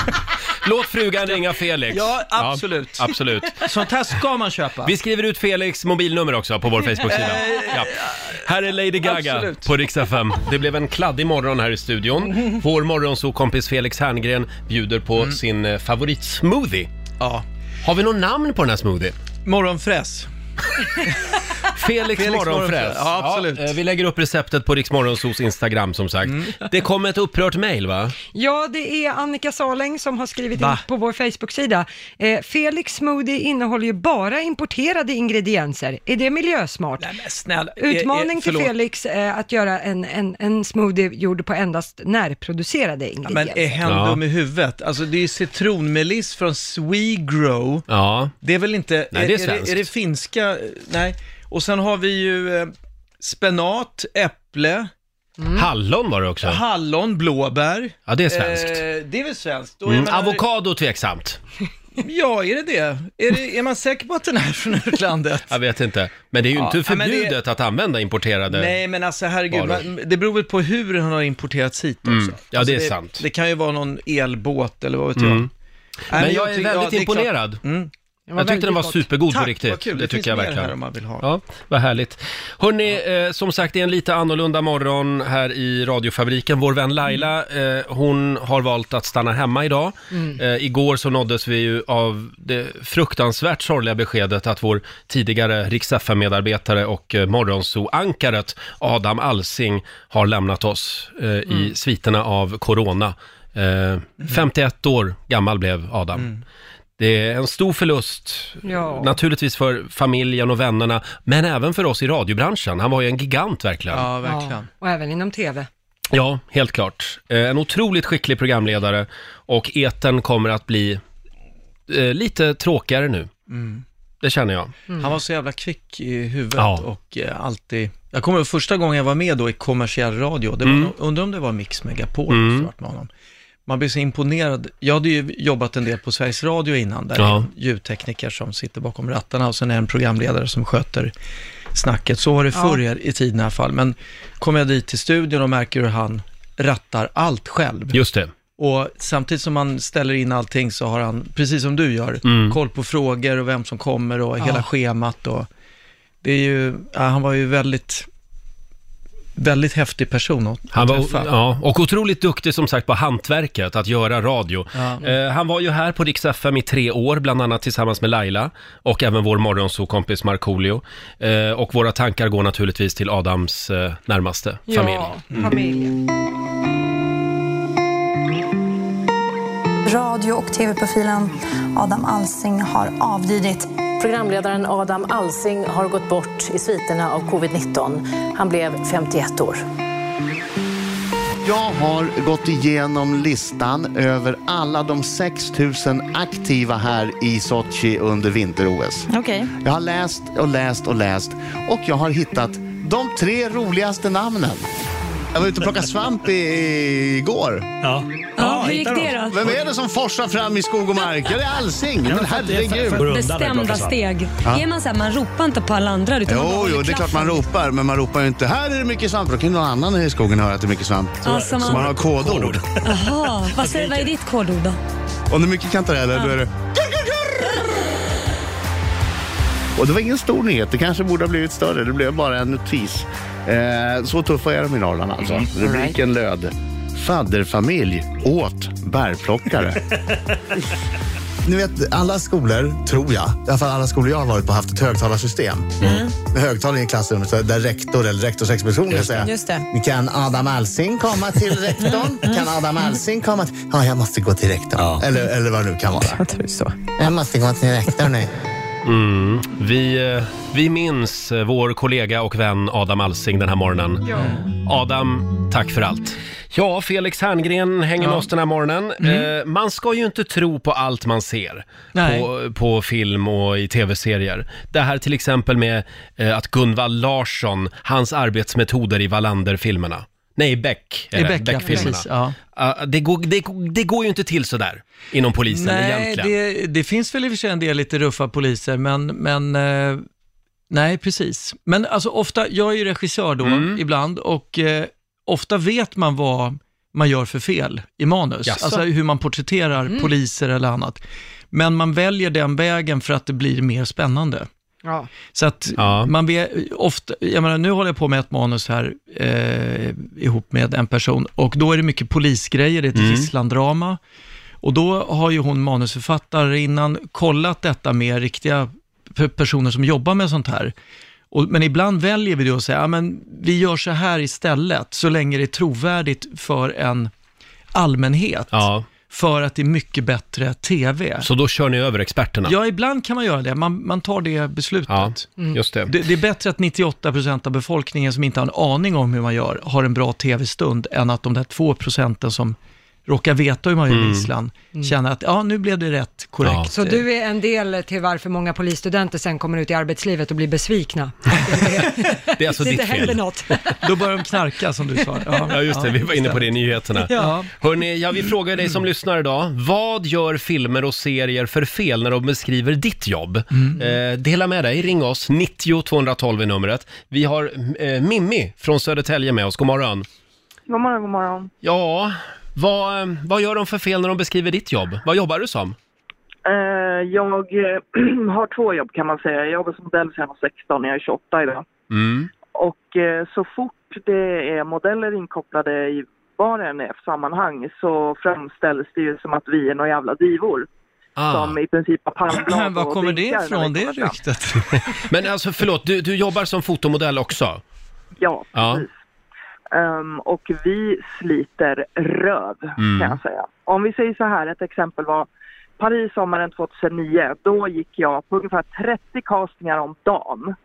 Låt frugan ringa Felix. Ja, absolut. absolut. Sånt här ska man köpa. Eh, Vi skriver ut Felix mobilnummer också på vår Facebook-sida. Eh, Ja. Här är Lady Gaga Absolut. på Rix FM. Det blev en kladdig morgon här i studion. Vår morgonsokompis Felix Herngren bjuder på sin eh, favoritsmoothie. Mm. Ja. Har vi något namn på den här smoothie? Morgonfräs. Felix, Felix morgonfräs. morgonfräs. Ja, absolut. Mm. eh, vi lägger upp receptet på Rix Morgonzos Instagram som sagt. Det kom ett upprört mejl va? Ja, det är Annika Saleng som har skrivit Va? in på vår Facebook-sida. Eh, Felix smoothie innehåller ju bara importerade ingredienser. Är det miljösmart? Nej, men snälla. eh, eh, Utmaning till förlåt. Felix eh, att göra en, en, en smoothie gjord på endast närproducerade Ja, Men ingredienser. är hen Ja. dum i huvudet? Alltså det är ju citronmeliss från Swegrow. Ja. Det är väl inte... Nej, det är är, svenskt. det, är det finska? Nej. Och sen har vi ju eh, spenat, äpple, Hallon var det också. hallon, blåbär. Ja, det är svenskt. Eh, det är väl svenskt? Och jag Mm, menar- avokado tveksamt. Ja, är det det? Är, det, är man säker på att den är från utlandet? Jag vet inte. Men det är ju Ja, inte men det- förbjudet att använda importerade. Nej, men alltså herregud, Varor. man, det beror väl på hur den har importerats hit också. Mm, ja, alltså, det är sant. Mm. Det kan ju vara någon elbåt eller vad vet jag. Nej, Men jag är tycker- väldigt det är klart. imponerad. Mm. Jag tyckte den var supergod på riktigt. Tack, vad kul. Det, Det, tycker finns jag mer verkligen. här om man vill ha. Ja, vad härligt. Hörni, eh, som sagt det är en lite annorlunda morgon här i radiofabriken. Vår vän Laila, Mm. eh, hon har valt att stanna hemma idag. Mm. Eh, igår så nåddes vi ju av det fruktansvärt sorgliga beskedet att vår tidigare riks medarbetare och eh, morgonso-ankaret Adam Alsing har lämnat oss eh, i Mm. sviterna av corona. Eh, 51 år gammal blev Adam. Det är en stor förlust Ja. Naturligtvis för familjen och vännerna, men även för oss i radiobranschen. Han var ju en gigant verkligen. Ja, Ja, och även inom tv. Ja, helt klart. Eh, En otroligt skicklig programledare och eten kommer att bli eh, lite tråkigare nu. Mm. Det känner jag. Han var så jävla kvick i huvudet Mm. Ja. och eh, alltid... Jag kommer ihåg första gången jag var med då i kommersiell radio, det var, Mm. nog- undrar om det var Mix Megapol Mm. som vart med honom. Man blir så imponerad. Jag hade ju jobbat en del på Sveriges Radio innan, där Ja. det är en ljudtekniker som sitter bakom rattarna och sen är det en programledare som sköter snacket. Så var det Ja. förr i- i tiden i alla fall. Men kom jag dit till studion och märker hur han rattar allt själv. Just det. Och samtidigt som man ställer in allting så har han, precis som du gör, Mm. koll på frågor och vem som kommer och Ja. hela schemat. Och det är ju, ja, han var ju väldigt, väldigt häftig person att, Han att var, träffa. ja, och otroligt duktig som sagt på hantverket, att göra radio. Ja. Eh, han var ju här på Rix FM i tre år, bland annat tillsammans med Laila och även vår morgonsokompis Markoolio. Eh, och våra tankar går naturligtvis till Adams eh, närmaste familj. Ja, familjen. Mm. Radio och tv-profilen Adam Alsing har avlidit. Programledaren Adam Alsing har gått bort i sviterna av covid-19. Han blev 51 år. Jag har gått igenom listan över alla de 6000 aktiva här i Sochi under vinter-OS. Okej. Jag har läst och läst och läst och jag har hittat de tre roligaste namnen. Jag var ute och plockade svamp i- igår. Ja. Ja, hur gick det då? Vem är det som forsar fram i skog och mark? Ja, det är Alsing. Ja, Men för att det är för- herregud. för- för- Bestämda steg. Ja. Är man så här, man ropar inte på alla andra. Utan man bara Jo, håller jo, det är klaffen. klart man ropar, men man ropar ju inte här är det mycket svamp. Då kan ju någon annan i skogen höra att det är mycket svamp. Ja, så man- Så man har kodord. Jaha, vad, säger, vad är ditt kodord då? Om det är mycket kantareller, då är det... Och det var ingen stor nyhet. Det kanske borde ha blivit större. Det blev bara en notis. Eh, så tuffa är de i Norrland alltså. Mm, all right. Rubriken löd Fadderfamilj åt bärplockare. Ni vet, alla skolor, tror jag, i alla fall alla skolor jag har varit på, har haft ett högtalarsystem. Mm. Med högtalare i klassrummet så där rektor eller rektorsexpeditionen Just säger det. Just det. "Nu Kan Adam Alsing komma till rektorn? Kan Adam Alsing komma till... Ja, jag måste gå till rektorn. Eller, eller vad det nu kan vara. Jag måste gå till rektorn nu. Mm. Vi, eh, vi minns eh, vår kollega och vän Adam Alsing den här morgonen. Ja. Adam, tack för allt. Ja, Felix Herngren hänger med oss den här morgonen. Eh, man ska ju inte tro på allt man ser Nej. på, på film och i tv-serier. Det här till exempel med eh, att Gunvald Larsson, hans arbetsmetoder i Wallander-filmerna. Nej, i Beck. är I det, Beck, ja, Beck-filmerna. precis, ja. Ah, det, går, det, det går ju inte till sådär inom polisen Nej, egentligen. det, det finns väl i och för sig en del lite ruffa poliser, men, men eh, nej, precis. Men alltså ofta, jag är ju regissör då ibland och eh, ofta vet man vad man gör för fel i manus, Jaså? alltså hur man porträtterar Mm. poliser eller annat. Men man väljer den vägen för att det blir mer spännande. Ja. Så att man vet ofta, jag menar nu håller jag på med ett manus här eh, ihop med en person och då är det mycket polisgrejer, det är ett Mm. gisslandrama. Och då har ju hon manusförfattarinnan kollat detta med riktiga pe- personer som jobbar med sånt här. Och, men ibland väljer vi då att säga, ja men vi gör så här istället, så länge det är trovärdigt för en allmänhet. För att det är mycket bättre TV. Så då kör ni över experterna? Ja, ibland kan man göra det. Man, man tar det beslutet. Mm. just det. Det, är bättre att 98% av befolkningen som inte har en aning om hur man gör har en bra tv-stund än att de där 2% som råkar veta hur man gör Mm. gisslan känner att ja, nu blev det rätt korrekt. Så du är en del till varför många polisstudenter sen kommer ut i arbetslivet och blir besvikna. Det är alltså det ditt inte händer fel. något. Då börjar de knarka som du sa. Ja, just det. Vi var inne på det i nyheterna. Ja. Hörrni, ja, vi frågar dig som lyssnar idag. Vad gör filmer och serier för fel när de beskriver ditt jobb? Mm. Eh, dela med dig. Ring oss. 90 212 är numret. Vi har eh, Mimmi från Södertälje med oss. God morgon. God morgon, god morgon. Ja, vad, vad gör de för fel när de beskriver ditt jobb? Vad jobbar du som? Eh, jag eh, har två jobb kan man säga. Jag jobbar som modell sedan jag var 16, jag är 28 idag. Mm. Och eh, så fort det är modeller inkopplade i vad det än är för sammanhang så framställs det ju som att vi är några jävla divor. Ah. Som i princip har palmblad Var och kommer det vinkar när vi ifrån, det kommer fram. ryktet? Men alltså förlåt, du, du jobbar som fotomodell också? Ja, Ja. precis. Ehm, och vi sliter röv, Mm. kan jag säga. Om vi säger så här, ett exempel var Paris sommaren 2009. Då gick jag på ungefär 30 castningar om dagen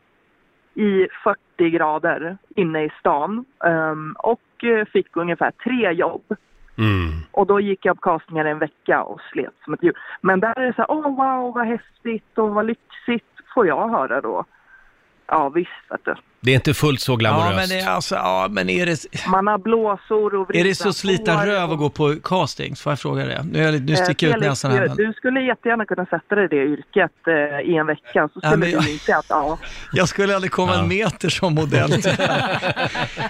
i 40 grader inne i stan ehm, och eh, fick ungefär tre jobb. Mm. Och då gick jag på castningar en vecka och slet som ett djur. Men där är det så här, åh oh, wow vad häftigt och vad lyxigt, får jag höra då. Ja visst vet du. Det är inte fullt så Ja, glamoröst. men, det, är alltså, ja, men är, det, Man har blåsor och är vridna det så slita hår. röv att gå på castings? Får jag fråga det? Nu, är jag, lite- nu Eh, sticker jag ut Felix, näsan här. du- Men... Du skulle jättegärna kunna sätta dig i det yrket eh, i en vecka, så Ja, skulle men jag- du inse att ja. Jag skulle aldrig komma en meter som modell.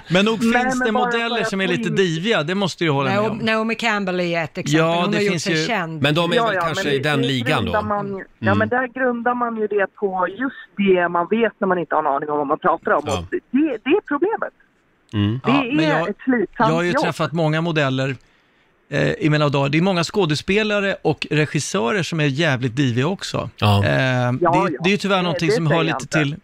men nog Nej, finns men det bara modeller för att som är få lite in- diviga, det måste du hålla med om. Naomi, Naomi Campbell är ett exempel. Ja, Hon det har gjort finns sig ju- känd. Men de är Ja, väl ja, kanske men i det- den det ligan då? grundar Man, Ja, Mm. men där grundar man ju det på just det man vet när man inte har en aning om vad man pratar om. Ja. Och Det, det är problemet. Mm. Det är men ett jag slitsamt har ju jobb. träffat många modeller eh, i mina dagar. Det är många skådespelare och regissörer som är jävligt diviga också. Ja. Eh, ja. det, det är ju tyvärr Det- någonting det som hör säger jag lite till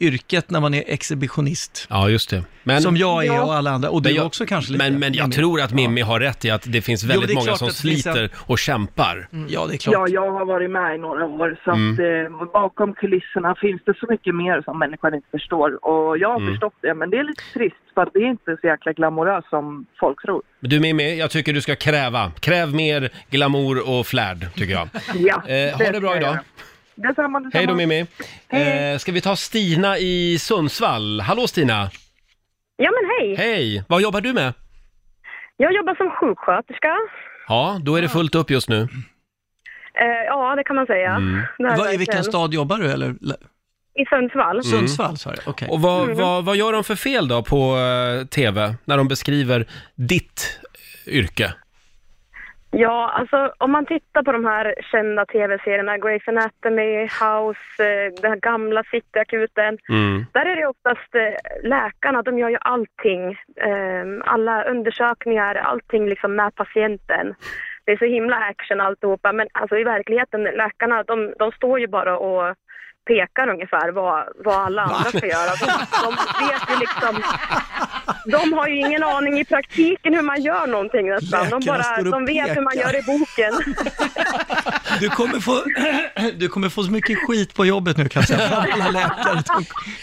yrket när man är exhibitionist. Ja, just det. Men, Som jag är Ja. och alla andra. Och du Men jag, också kanske lite, Men, men jag Mimmi. tror att Mimmi har rätt i att det finns Jo, men väldigt det är många klart som att det finns en- Mm. sliter och kämpar. Ja, det är Ja, jag har varit med i några år så Mm. att eh, bakom kulisserna finns det så mycket mer som människan inte förstår. Och jag har Mm. förstått det, men det är lite trist för att det är inte så jäkla glamoröst som folk tror. Men Du Mimmi, jag tycker du ska kräva. Kräv mer glamour och flärd, tycker jag. Ja, Eh, ha det bra idag. Detsamma, detsamma. Hej då Mimmi. Eh, ska vi ta Stina i Sundsvall? Hallå Stina! Ja men hej. Hej! Vad jobbar du med? Jag jobbar som sjuksköterska. Ja, då är det fullt upp just nu. Mm. Eh, ja, det kan man säga. Det här Mm. Vad- I verkligen. vilken stad Mm. jobbar du? Eller? I Sundsvall. Sundsvall sa jag, okej. Och vad, Mm. vad, vad gör de för fel då på eh, TV när de beskriver ditt yrke? Ja, alltså om man tittar på de här kända tv-serierna, Grey's Anatomy, House, eh, den här gamla Cityakuten. Mm. Där är det oftast eh, läkarna, de gör ju allting. Eh, alla undersökningar, allting liksom med patienten. Det är så himla action alltihopa, men alltså i verkligheten, läkarna, de, de står ju bara och pekar ungefär vad, vad alla andra ska göra. De, de vet ju liksom... De har ju ingen aning i praktiken hur man gör någonting nästan. De, Läkarna bara, står och de vet hur man pekar. gör i boken. Du kommer, få, du kommer få så mycket skit på jobbet nu kan jag säga. Alla läkare.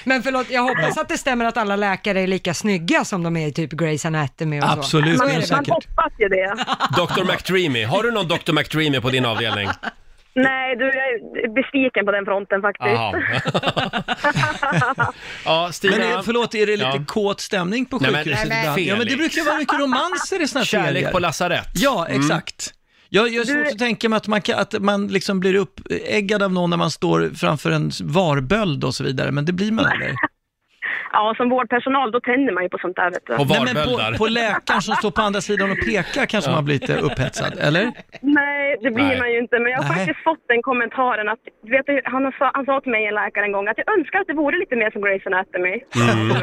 Men förlåt, jag hoppas att det stämmer att alla läkare är lika snygga som de är i typ Grey's Anatomy och så. Absolut, Så det är det. säkert. Hoppas ju det. Dr. McDreamy, har du någon Dr. McDreamy på din avdelning? Nej, du, jag är besviken på den fronten faktiskt. Jaha. ja, Stina. Men är, förlåt, är det lite Ja. kåt stämning på Nej, men- sjukhuset Nej, men ibland? Ja, men det Felix. brukar vara mycket romanser i såna här Kärlek serier. på lasarett. Ja, Mm. exakt. Jag, jag har svårt att tänka mig att man, kan, att man liksom blir uppeggad av någon när man står framför en varböld och så vidare, men det blir man aldrig. Ja, som vårdpersonal då tänder man ju på sånt där vet du. Nej, men på, på läkaren som står på andra sidan och pekar kanske man blir lite upphetsad, eller? Nej, det blir Nej. man ju inte. Men jag har Nej. faktiskt fått den kommentaren att, du vet du, han, sa, han sa till mig en läkare en gång att jag önskar att det vore lite mer som Grey's Anatomy. Mm.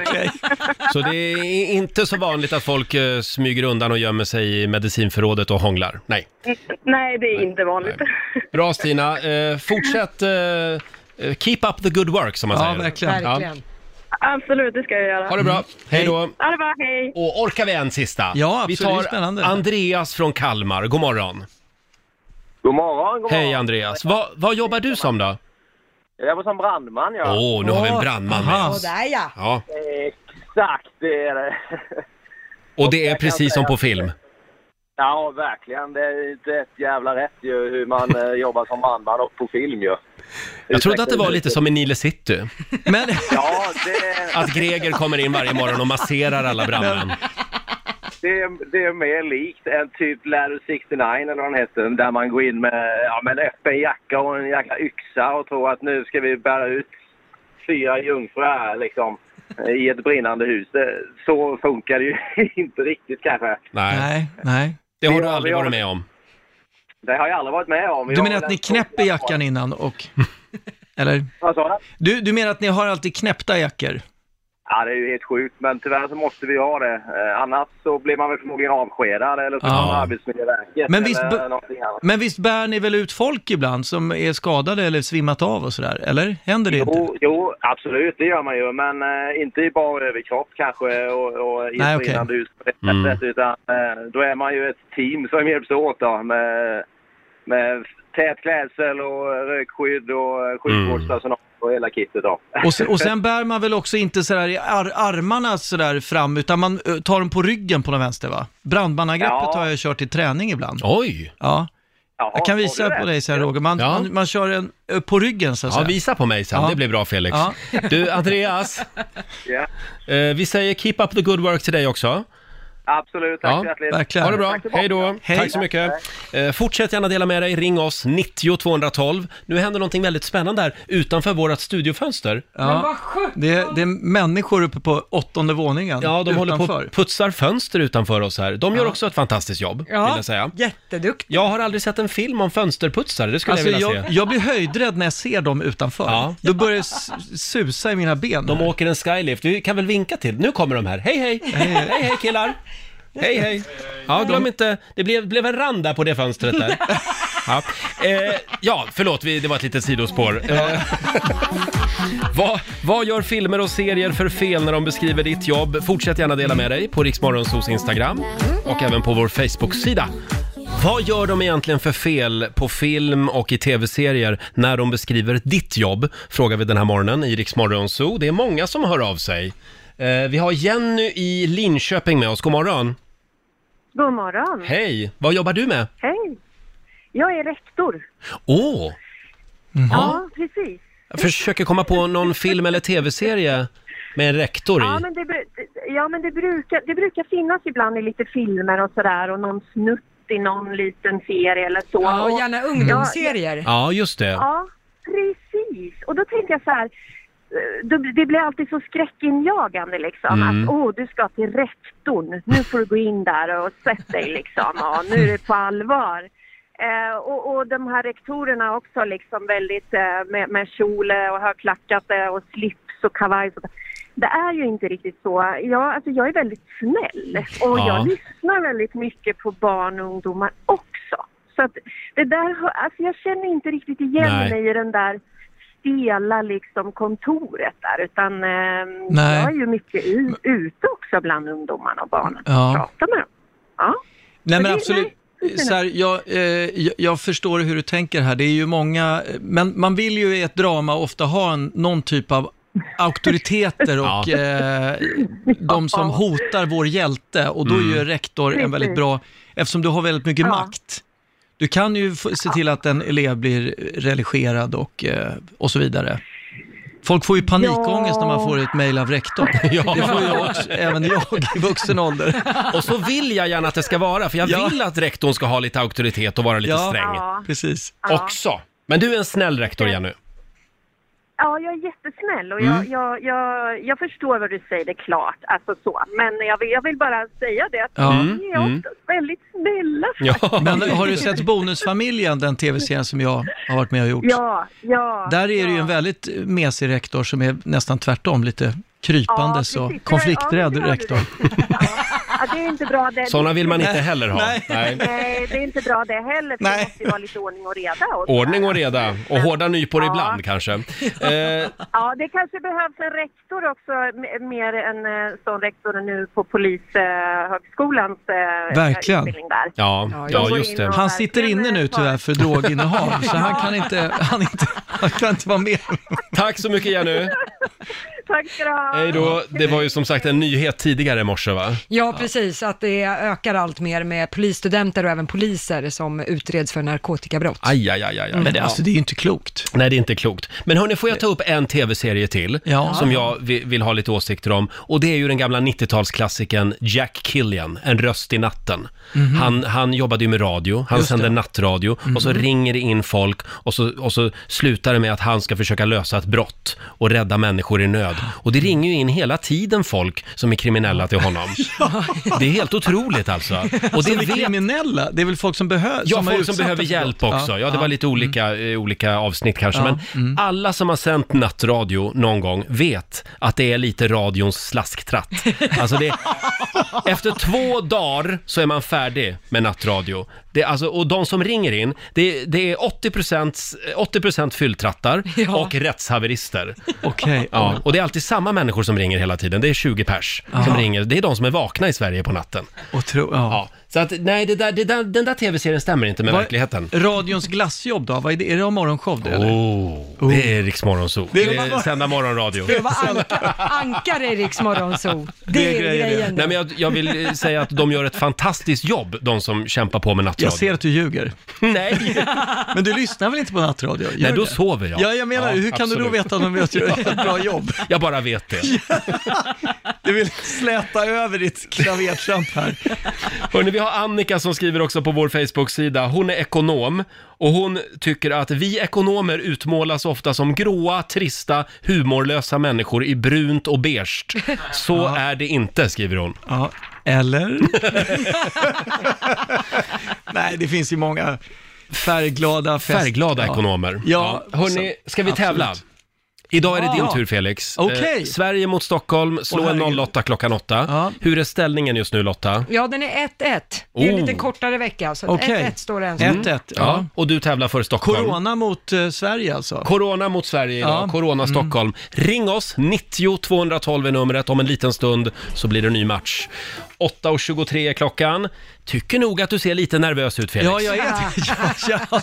Så det är inte så vanligt att folk eh, smyger undan och gömmer sig i medicinförrådet och hånglar? Nej. N- Nej, det är inte vanligt. Bra Stina, eh, fortsätt eh, eh, keep up the good work som man säger. Ja. Absolut, det ska jag göra. Ha det Mm. bra, hej då. Ha det bra, Mm. hej. Och orkar vi en sista? Ja, Vi absolut. tar Spännande. Andreas från Kalmar, god morgon. God morgon, god Hej Andreas, Va, vad jobbar du som då? Jag jobbar som brandman Åh, jag. nu har vi en brandman med oss. Sådär ja. Ja, Exakt, det är det. och det är precis som på film. Ja, verkligen. Det är inte ett jävla rätt ju hur man eh, jobbar som brandman och på film ju. Jag trodde att det var lite som i Nile City. Ja, det, Att Greger kommer in varje morgon och masserar alla brandmän. det, är- det är mer likt än typ Ladder 69 eller vad den heter. Där man går in med, ja, med en öppen jacka och en jäkla yxa och tror att nu ska vi bära ut fyra jungfrur här liksom. I ett brinnande hus. Det- Så funkar det ju inte riktigt kanske. Nej. Nej. Det har Vi du har- aldrig vi har- varit med om. Det har jag aldrig varit med om. Du menar att ni knäpper jackan innan och... Eller? Vad sa du? Du, du menar att ni har alltid knäppta jackor? Ja, det är ju helt sjukt, men tyvärr så måste vi ha det. Eh, annars så blir man väl förmodligen avskedad eller så Ja. kommer Arbetsmiljöverket Men visst eller bör- någonting annat. Men visst bär ni väl ut folk ibland som är skadade eller svimmat av och sådär? Eller? Händer det inte? Jo, jo, absolut, det gör man ju, men eh, inte i bar överkropp kanske och, och i Nej, ett okej. brinnande hus på det Mm. sättet, utan eh, då är man ju ett team som hjälps åt då, med, med tät klädsel och rökskydd och eh, sjukvårdspersonal Mm. och hela kittet då. Och sen, och sen bär man väl också inte sådär i ar armarna sådär fram, utan man eh, tar dem på ryggen på den vänster va? Brandmannagreppet Ja. har jag kört i träning ibland. Oj! Ja. Jaha, jag kan har visa du det? på dig sen Roger, man, man, man kör en eh, på ryggen så att Ja, säga. visa på mig sen. Ja. Det blir bra Felix. Ja. Du, Andreas. eh, vi säger keep up the good work till dig också. Absolut, tack så hjärtligt. Ha det bra. Hej då. Tack så mycket. Eh, fortsätt gärna dela med dig. Ring oss, 90 212. Nu händer någonting väldigt spännande här utanför vårt studiofönster. Ja, det, det är människor uppe på åttonde våningen Ja, de håller på utanför. och putsar fönster utanför oss här. De gör också ett fantastiskt jobb, Ja, vill jag säga. jätteduktigt. Jag har aldrig sett en film om fönsterputsare, det skulle Alltså, jag vilja jag, se. jag blir höjdrädd när jag ser dem utanför. Ja. Då börjar det s- susa i mina ben. De åker en skylift, vi kan väl vinka till? Nu kommer de här, hej hej! Hej hej killar! Hej hej! Ja, glöm inte, det blev, blev en rand där på det fönstret där. Ja, eh, ja förlåt, vi, det var ett litet sidospår. Eh, vad, vad gör filmer och serier för fel när de beskriver ditt jobb? Fortsätt gärna dela med dig på Riksmorgonsos Instagram och även på vår Facebook-sida. Vad gör de egentligen för fel på film och i tv-serier när de beskriver ditt jobb? Frågar vi den här morgonen i Riksmorgonso. Det är många som hör av sig. Eh, vi har Jenny i Linköping med oss. God morgon! God morgon. Hej! Vad jobbar du med? Hej. Jag är rektor. Åh! Mm-hmm. Ja, precis. Jag försöker komma på någon film eller tv-serie med en rektor Ja, i. men, det, bru- ja, men det, brukar, det brukar finnas ibland i lite filmer och sådär och någon snutt i någon liten serie eller så. Ja, och Och- gärna ungdomsserier. Ja, just det. Ja, precis. Och då tänker jag så här, eh, då- det blir alltid så skräckinjagande liksom. Mm. Att åh, du ska till rektorn. Nu får du gå in där och sätt dig liksom. Ja, nu är det på allvar. Eh, och, och de här rektorerna också liksom väldigt eh, med, med kjol eh, och högklackat eh, och slips och kavaj. och sånt. Det är ju inte riktigt så. Jag, alltså, jag är väldigt snäll och Ja. jag lyssnar väldigt mycket på barn och ungdomar också. Så att det där, har- alltså jag känner inte riktigt igen Nej. mig i den där stela liksom kontoret där utan eh, Nej. jag är ju mycket i, ute också bland ungdomarna och barnen. Ja. Prata med dem. Ja. Nej men det- absolut. nej. Så här, jag, eh, jag, jag förstår hur du tänker här. Det är ju många, men man vill ju i ett drama ofta ha en, någon typ av auktoriteter och Ja. eh, de som hotar vår hjälte. Och då är ju Mm. rektor en väldigt Precis. bra, eftersom du har väldigt mycket Ja. makt. Du kan ju få- se till att en elev blir religerad och, eh, och så vidare. Folk får ju panikångest när man får ett mejl av rektorn. Ja. Det får ju också, även jag i vuxen ålder. Och så vill jag gärna att det ska vara, för jag Ja. vill att rektorn ska ha lite auktoritet och vara lite Ja, sträng. precis. Också. Men du är en snäll rektor, Jenny. Ja, jag är jättesnäll och Mm. jag, jag, jag, jag förstår vad du säger, det är klart. Alltså så. Men jag vill, jag vill bara säga det att Ja. ni är Mm. också väldigt snälla Men har du sett Bonusfamiljen, den tv-serien som jag har varit med och gjort? Ja, ja. Där är det ju en väldigt mesig rektor som är nästan tvärtom, lite krypandes Ja, och precis. Ja, konflikträdd det hörde rektor. Ja, det är inte bra det. Såna vill man inte Nej. heller ha. Nej. Nej. Nej, det är inte bra det heller. För det måste ju vara lite ordning och reda. Och Ordning och reda och hårda nypor Ja. ibland kanske. Eh, Ja, det kanske behövs en rektor också, m- mer en eh, sån rektor nu på Polishögskolans eh, Verkligen. utbildning där. Ja, Som ja, går just in det. och Han sitter verkligen, inne nu eh, tar- tyvärr för droginnehav, så han kan inte, han inte, han kan inte vara med. Tack så mycket Jenny. Tack ska du ha. Hej då. Det var ju som sagt en nyhet tidigare i morse va? Ja, precis. Att det ökar allt mer med polisstudenter och även poliser som utreds för narkotikabrott. Aj, aj, aj, aj. Men det- alltså, det är ju inte klokt. Nej, det är inte klokt. Men hörni, får jag ta upp en tv-serie till Ja. som jag vi- vill ha lite åsikter om? Och det är ju den gamla 90-talsklassikern Jack Killian, En röst i natten. Mhm. Han, han jobbade ju med radio, han Just det. sände nattradio och så Mhm. ringer det in folk och så, och så slutar det med att han ska försöka lösa ett brott och rädda människor i nöd arresterad. Och det ringer ju in hela tiden folk som är kriminella till honom. Det är helt otroligt alltså. Och Alltså, det det är vet kriminella, det är väl folk som behöver Ja, folk som behöver hjälp också. Ja, det var lite olika, eh, olika avsnitt kanske. Mm. Ja, Mm. Men alla som har sänt nattradio någon gång vet att det är lite radions slasktratt. Alltså det, efter två dagar så är man färdig med nattradio. Det, är alltså, och de som ringer in, det, det är 80%, 80 fylltrattar och rättshaverister. Okej. Ja, och det är alltid samma människor som ringer hela tiden. Det är 20 pers som Aha. ringer. Det är de som är vakna i Sverige på natten. Och tro, ja. Så att, nej, det där, det där, den där tv-serien stämmer inte med Vad- verkligheten. Radions glassjobb då, vad är det? Är det morgonshow det eller? Oh, det är Rix Morgonzoo. Det Det är- är sända morgonradio. Det var anka, ankare i Riks Morgonzoo. Det är grejen. Nej, men jag, jag vill eh, säga att de gör ett fantastiskt jobb, de som kämpar på med nattradio. Jag ser att du ljuger. Mm. Nej! Men du lyssnar väl inte på nattradio? Gör Nej, då du? sover jag. Ja, jag menar, hur kan du då veta om de vet gör ett bra jobb? Jag bara vet det. Du vill släta över ditt klavertramp här. Hörrni, vi har Annika som skriver också på vår Facebook-sida. Hon är ekonom och hon tycker att vi ekonomer utmålas ofta som gråa, trista, humorlösa människor i brunt och beige. Så är det inte, skriver hon. Ja, eller? Nej, det finns ju många färgglada fest... Färgglada ja. ekonomer. Ja, Ja. Hörni, ska vi absolut. tävla? Idag är det din Ja. tur Felix. Eh, Okej. Sverige mot Stockholm, Åh, slå en herregud. 08 klockan 8. Hur är ställningen just nu Lotta? Ja, den är 1-1. Det är en Oh. lite kortare vecka, så Okej. 1-1 står det än så. Mm. Ja. Och du tävlar för Stockholm. Corona mot eh, Sverige alltså? Corona mot Sverige idag, Ja. Mm. Corona Stockholm. Ring oss, 90 212 är numret. Om en liten stund så blir det en ny match. 8.23 är klockan. Tycker nog att du ser lite nervös ut Felix. Ja, jag är ja, ja.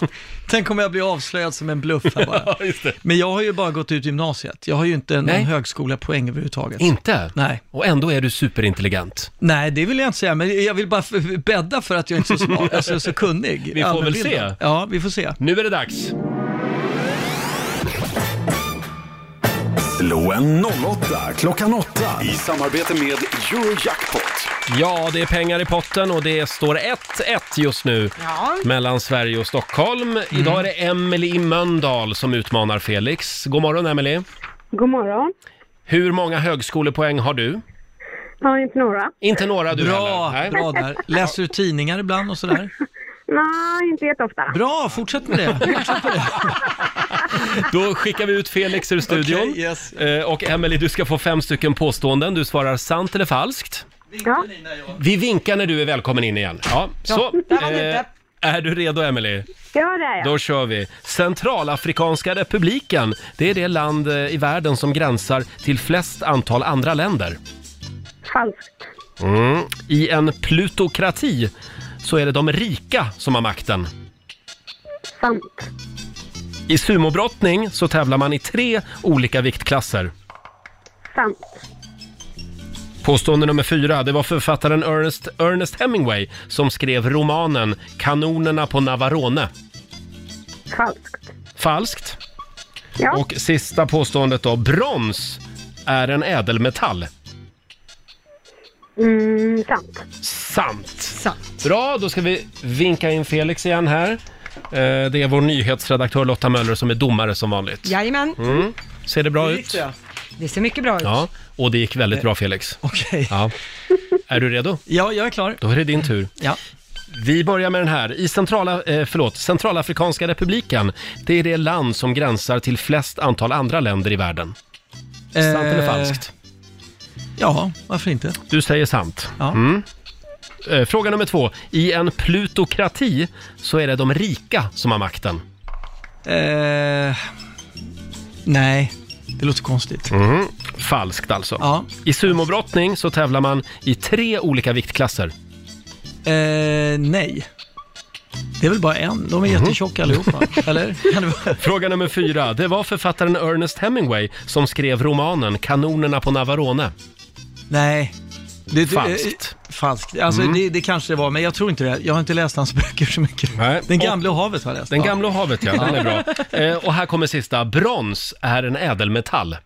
Tänk om jag blir avslöjad som en bluff här bara. Men jag har ju bara gått ut gymnasiet. Jag har ju inte någon Nej. högskolepoäng överhuvudtaget. Inte? Nej. Och ändå är du superintelligent. Nej, det vill jag inte säga, men jag vill bara f- bädda för att jag inte är så smart, alltså så kunnig. Vi får väl Allmänbildad. se. Ja, vi får se. Nu är det dags. Slå en 08 klockan 8 i samarbete med Eurojackpot. Ja, det är pengar i potten och det står 1-1 just nu Ja. mellan Sverige och Stockholm. Mm. Idag är det Emily i Mölndal som utmanar Felix. God morgon Emily. God morgon. Hur många högskolepoäng har du? Har inte några? Inte några du Bra, heller. Nej. bra där. Läser du tidningar ibland och sådär? Nej, inte jätteofta. Bra, fortsätt med det. Då skickar vi ut Felix ur studion. Okej, yes. Eh, Och Emily, du ska få fem stycken påståenden. Du svarar sant eller falskt. Ja. Vi vinkar när du är välkommen in igen. Ja, så. där var vi Eh, ute. Är du redo Emily? Ja, det är jag. Då kör vi. Centralafrikanska republiken, det är det land eh, i världen som gränsar till flest antal andra länder. Falskt. Mm. I en plutokrati så är det de rika som har makten. Sant. I sumobrottning så tävlar man i tre olika viktklasser. Sant. Påstående nummer fyra, det var författaren Ernest, Ernest Hemingway som skrev romanen Kanonerna på Navarone. Falskt. Falskt. Ja. Och sista påståendet då, brons är en ädelmetall. Mm, sant. Sant. Sant. Bra, då ska vi vinka in Felix igen här. Eh, Det är vår nyhetsredaktör Lotta Möller som är domare som vanligt. Jajamän. Mm. Ser det bra ut? Det ser mycket bra ut. Ja, och det gick väldigt bra Felix. Eh, Okej. Ja. Är du redo? Ja, jag är klar. Då är det din tur. Ja. Vi börjar med den här. I centrala, eh, förlåt, Centralafrikanska republiken, det är det land som gränsar till flest antal andra länder i världen. Sant eller Eh, falskt? Ja, varför inte? Du säger sant. Mm. Eh, Fråga nummer två. I en plutokrati så är det de rika som har makten. Eh, nej, det låter konstigt. Mm. Falskt alltså. Ja. I sumobrottning så tävlar man i tre olika viktklasser. Eh, nej. Det är väl bara en? De är jättetjocka allihopa, eller? Mhm. Fråga nummer fyra. Det var författaren Ernest Hemingway som skrev romanen Kanonerna på Navarone. Nej. Det, det- Falskt. eh, falskt. Alltså, Mm. det, det kanske det var, men jag tror inte det. Jag har inte läst hans böcker så mycket. Den gamla och havet har jag läst. Den Ja. gamla och havet, ja. Den är bra. Eh, och här kommer sista. Brons är en ädelmetall.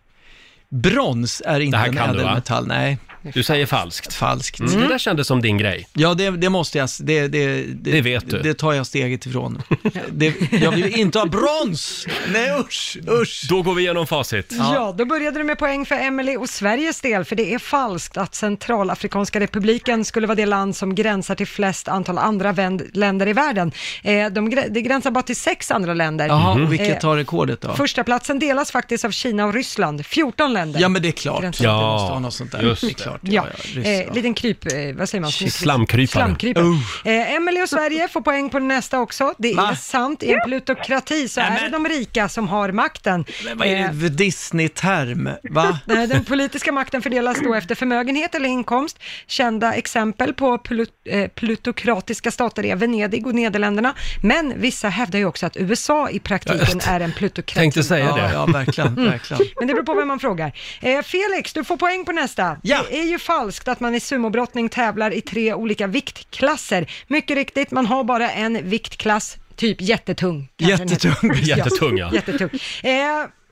Brons är inte Det här en kan du, va? ädelmetall, nej. Du säger falskt. Falskt. Mm. Det där kändes som din grej. Ja, det, det måste jag, det, det, det, Det vet du. Det tar jag steget ifrån. det, jag vill inte ha brons! Nej usch, usch! Då går vi igenom facit. Ja, då började du med poäng för Emily och Sveriges del, för det är falskt att Centralafrikanska republiken skulle vara det land som gränsar till flest antal andra vänd- länder i världen. Eh, de, grä- det gränsar bara till sex andra länder. Jaha, Eh, Mm. och vilket tar rekordet då? Första platsen delas faktiskt av Kina och Ryssland, 14 länder. Ja, men det är klart. Gränsar. Ja, det måste ha något sånt där. just det. är det. klart. Ja, eh, Ryssland. liten kryp, eh, vad säger man? Shit, slamkrypare. Slamkrypare. Oh. Eh, Emelie och Sverige får poäng på nästa också. Det är Va? sant, i en plutokrati så är det de rika som har makten. Men vad är Eh, det för Disney-term? Va? Nej, den politiska makten fördelas då efter förmögenhet eller inkomst. Kända exempel på plut- eh, plutokratiska stater är Venedig och Nederländerna. Men vissa hävdar ju också att USA i praktiken är en plutokrati. Tänkte säga ja, det. Ja, verkligen, verkligen. Mm. Men det beror på vem man frågar. Eh, Felix, du får poäng på nästa. Ja. Det är ju falskt att man i sumobrottning tävlar i tre olika viktklasser. Mycket riktigt, man har bara en viktklass, typ jättetung. kanske den heter. Jättetung. Jättetung, ja. Jättetung. Eh,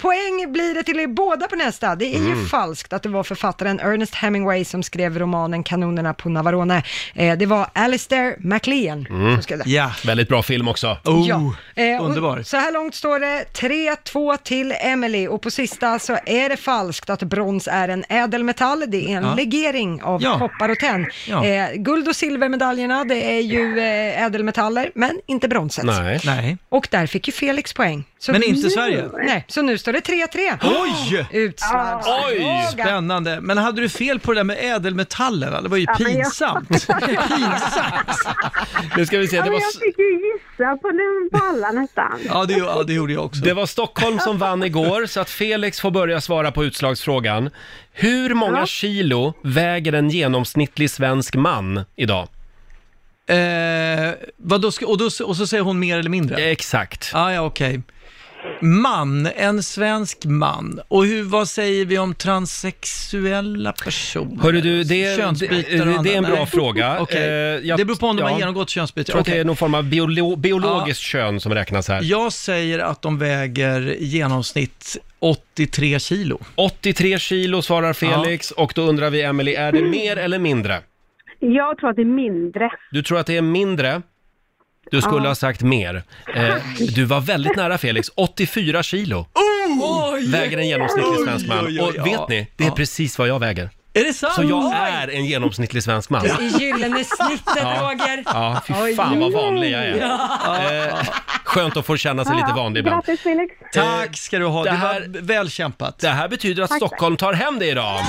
Poäng blir det till er båda på nästa. Det är ju Mm. falskt att det var författaren Ernest Hemingway som skrev romanen Kanonerna på Navarone. Eh, det var Alistair MacLean Mm. som skrev det. Väldigt bra film också. Oh, Eh, och Så här långt står det 3-2 till Emily och på sista så är det falskt att brons är en ädelmetall. Det är en Ja. legering av Ja. koppar och tenn. Ja. Eh, guld och silvermedaljerna, det är ju eh, ädelmetaller, men inte bronset. Nej. Nej. Och där fick ju Felix poäng. Så Men inte nu, Sverige. Nej, så nu står det 3-3. Oj! Utslagsfråga. Spännande. Men hade du fel på det där med ädelmetallerna? Det var ju Ja, men jag- pinsamt. Nu ska vi se, Ja, det men var, jag fick ju gissa på, den- på alla nästan. Ja det, ja, det gjorde jag också. det var Stockholm som vann igår, så att Felix får börja svara på utslagsfrågan. Hur många kilo väger en genomsnittlig svensk man idag? Eh, vad då ska, och, då, och så säger hon mer eller mindre? Exakt. Ah, ja, okej. Man, en svensk man. Och hur, vad säger vi om transsexuella personer? Hörru du, det, Könsbyten det, och det är en andra- bra Nej. fråga. Okej. Eh, jag- det beror på om de ja. har genomgått könsbyte. Jag tror att det Okej. är någon form av biolo- biologiskt kön som räknas här. Jag säger att de väger i genomsnitt 83 kilo. 83 kilo svarar Felix och då undrar vi Emily, är det mer eller mindre? Jag tror att det är mindre. Du tror att det är mindre? Du skulle Ja. ha sagt mer. Eh, du var väldigt nära Felix, 84 kilo Oj! väger en genomsnittlig Oj, svensk man. oj, oj, Och vet ni, det är precis vad jag väger. Är det sant? Så jag är en genomsnittlig svensk man. I gyllene snittet, Ja. Roger. Ja, fy Oj. fan vad vanlig jag är. Ja. Eh, skönt att få känna sig Alltså, lite vanlig ibland. Grattis Felix! Tack ska du ha. Det Det, här- var väl kämpat. Det här betyder att Tack. Stockholm tar hem det idag.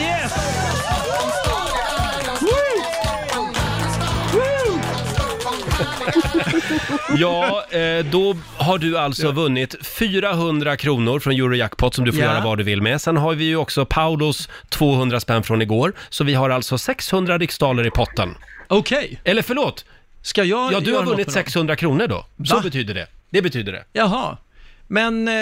Yes! Ja, eh, då har du alltså vunnit 400 kronor från Eurojackpot som du får Ja. göra vad du vill med. Sen har vi ju också Paulos 200 spänn från igår, så vi har alltså 600 riksdaler i potten. Okej. Eller förlåt, Ska jag ja du göra har något vunnit med dem? 600 kronor då. Så Va? betyder det. Det betyder det. Jaha. Men... Eh,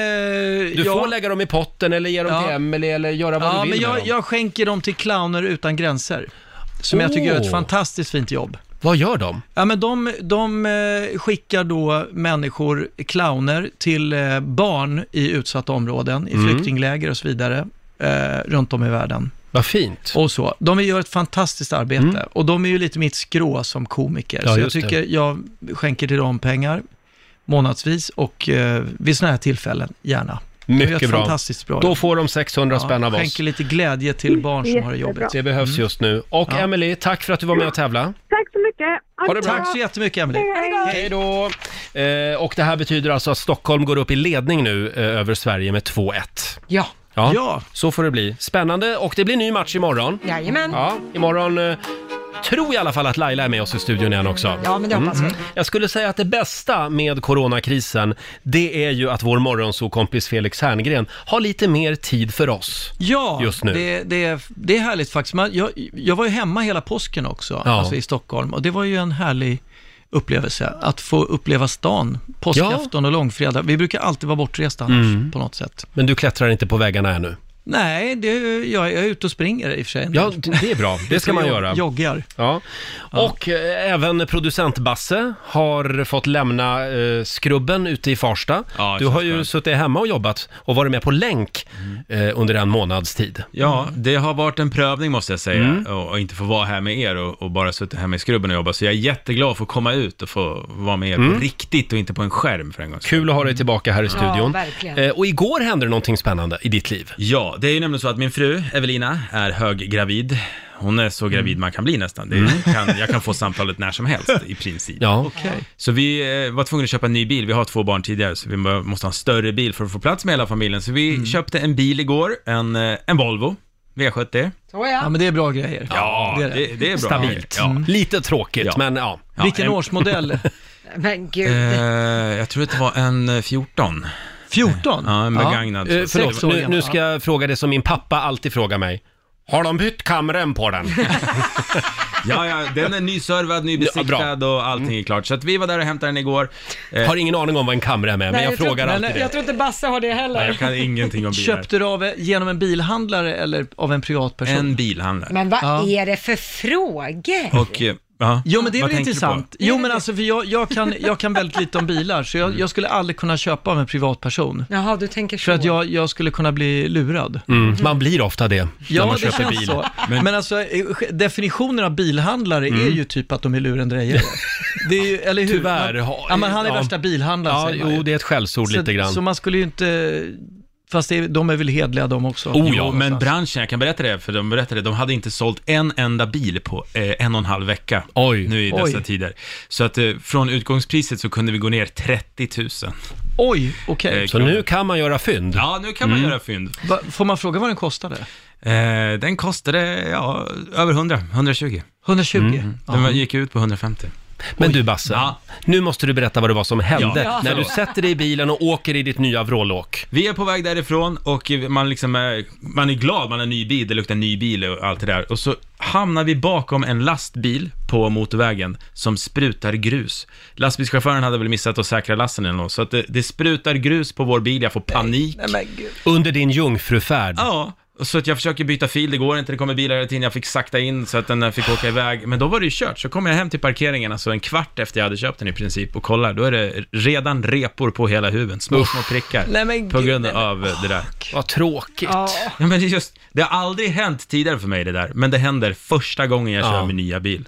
Du får lägga dem i potten eller ge dem Ja. till Emelie eller göra vad ja, du men vill med jag, dem. jag skänker dem till Clowner utan gränser. Som jag tycker gör Åh. ett fantastiskt fint jobb. Vad gör de? Ja, men de, de eh, skickar då människor, clowner, till eh, barn i utsatta områden, i Mm. flyktingläger och så vidare, eh, runt om i världen. Vad fint. Mm. Och så. De gör ett fantastiskt arbete och de är ju lite mitt skrå som komiker. Ja, så jag just det. tycker jag skänker till dem pengar månadsvis och eh, vid sådana här tillfällen gärna. de gör Mycket ett bra. fantastiskt bra Då jobb. får de 600 spänn av oss. skänker lite glädje till barn som har det Jättebra. jobbigt. Mm. Det behövs just nu. Och Ja. Emelie, tack för att du var med och tävlade. Tack så mycket! Ha det bra. Tack så jättemycket Emelie. Hej då! Eh, och det här betyder alltså att Stockholm går upp i ledning nu eh, över Sverige med 2-1. Ja. Ja, Ja. så får det bli. Spännande och det blir ny match imorgon. Jajamän. Ja, imorgon eh, tror jag i alla fall att Laila är med oss i studion igen också. Mm. Ja, men det hoppas vi. Jag skulle säga att det bästa med coronakrisen, det är ju att vår morgonsokompis Felix Herngren har lite mer tid för oss. Ja, just nu. Det, det, är- det är härligt faktiskt. Man, jag, jag var ju hemma hela påsken också, Ja. alltså i Stockholm, och det var ju en härlig upplevelse att få uppleva stan, påskafton och långfredag. Vi brukar alltid vara bortresta annars, Mm. på något sätt. Men du klättrar inte på väggarna ännu. Nej, det, jag, jag är ute och springer i och för sig. Ja, det är bra. Det ska man göra. Joggar. Ja. Och eh, även producent Basse har fått lämna eh, skrubben ute i Farsta. du känns har ju suttit hemma och jobbat och varit med på länk Mm. eh, under en månads tid. Ja, det har varit en prövning måste jag säga, Mm. och, och inte få vara här med er och, och bara sitta hemma i skrubben och jobba. Så jag är jätteglad för att komma ut och få vara med er Mm. på riktigt och inte på en skärm för en gång. Kul att ha dig tillbaka här i studion. verkligen. Eh, och igår hände det någonting spännande i ditt liv. Ja, det är ju nämligen så att min fru Evelina är höggravid. Hon är så Mm. gravid man kan bli nästan. Det kan, jag kan få samtalet när som helst i princip. Ja. Okej. Så vi eh, var tvungna att köpa en ny bil. Vi har två barn tidigare, så vi må- måste ha en större bil för att få plats med hela familjen. Så Mm. vi köpte en bil igår, en, eh, en Volvo V70. Så ja. men det är bra grejer. Ja, det, det, är bra. Stabilt. Mm. Ja. Lite tråkigt, Ja. men ja. Vilken årsmodell? Men Eh, gud. jag tror att det var en eh, 14. 14? Ja, en Ja. begagnad. Eh, förlåt, nu, nu ska jag fråga det som min pappa alltid frågar mig. Har de bytt kameran på den? Ja, ja, den är nyservad, Ja, Mm. nybesiktad och allting är klart. Så att vi var där och hämtade den igår. Eh, Har ingen aning om vad en kamera är med, Nej, tror- nej, Jag tror inte Basse har det heller. ingenting om bilar. Köpte du av, genom en bilhandlare eller av en privatperson? En bilhandlare. Men vad Ja. är det för frågor? Och, eh, ja. Jo men det är Vad tänker du väl på? intressant. Jo men alltså för jag, jag, kan, jag kan väldigt lite om bilar så Mm. jag, jag skulle aldrig kunna köpa av en privatperson. Jaha, du tänker så. För att jag, jag skulle kunna bli lurad. Mm. Man blir ofta det Ja, när man det köper känns bil. så. Men, alltså, eh, definitionen av bilhandlare är ju typ att de är lurendrejare. Det är ju, eller hur? Mm. Tyvärr Man, har- ja, men han är ja. värsta bilhandlaren Ja, säger man ju. jo, det är ett skällsord så, lite grann. Så man skulle ju inte... Fast det, är- de är väl hedliga de också? Oh, ja, men branschen, jag kan berätta det, för de berättade, de hade inte sålt en enda bil på eh, en och en halv vecka nu i dessa Oj. tider. Så att eh, från utgångspriset så kunde vi gå ner 30 000. Oj, okej. Eh, Så nu kan man göra fynd? Ja, nu kan man Mm. göra fynd. Va, får man fråga vad den kostade? Eh, den kostade, ja, över 100, 120. 120? Den var- gick ut på 150. Mm. Men du Basse, nu måste du berätta vad det var som hände Ja. när du Ja. sätter dig i bilen och åker i ditt nya vrålåk. Vi är på väg därifrån och man, liksom är, man är glad, man har en ny bil, det luktar ny bil och allt det där. Och så hamnar vi bakom en lastbil på motorvägen som sprutar grus. Lastbilschauffören hade väl missat att säkra lasten eller något, så att det, det sprutar grus på vår bil, jag får panik. Under din jungfrufärd. Ja, och så att jag försöker byta fil, det går inte, det kommer bilar hela tiden, jag fick sakta in så att den där fick åka iväg. Men då var det ju kört, så kom jag hem till parkeringen, alltså en kvart efter jag hade köpt den i princip, och kollar, då är det redan repor på hela huven, små, små prickar, Nej, men på gud, grund av det där. Vad tråkigt. Ja. men det, är just, det har aldrig hänt tidigare för mig det där, men det händer första gången jag kör Ja. min nya bil.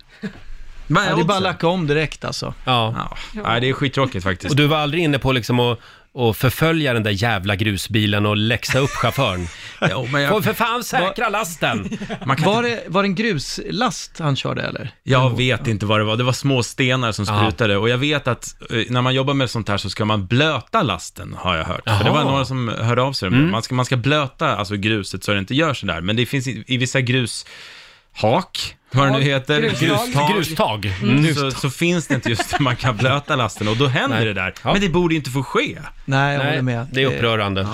Ja, det är bara oddsen? att lacka om direkt alltså. Ja. Nej, det är skittråkigt faktiskt. Och du var aldrig inne på liksom att att förfölja den där jävla grusbilen och läxa upp chauffören. jag- Får för fan säkra lasten! var, det, var det en gruslast han körde eller? Jag vet inte vad det var, det var små stenar som Ja. sprutade och jag vet att eh, när man jobbar med sånt här så ska man blöta lasten har jag hört. För det var Jaha. några som hörde av sig om det. Mm. man, ska, man ska blöta alltså gruset så det inte gör sådär, men det finns i, i vissa grushak, vad det nu Tag. heter, Grustag. Grustag. Mm. Så, så finns det inte just att man kan blöta lasten och då händer Nej. det där. Ja. Men det borde inte få ske. Nej, jag Nej, håller med. Det är upprörande.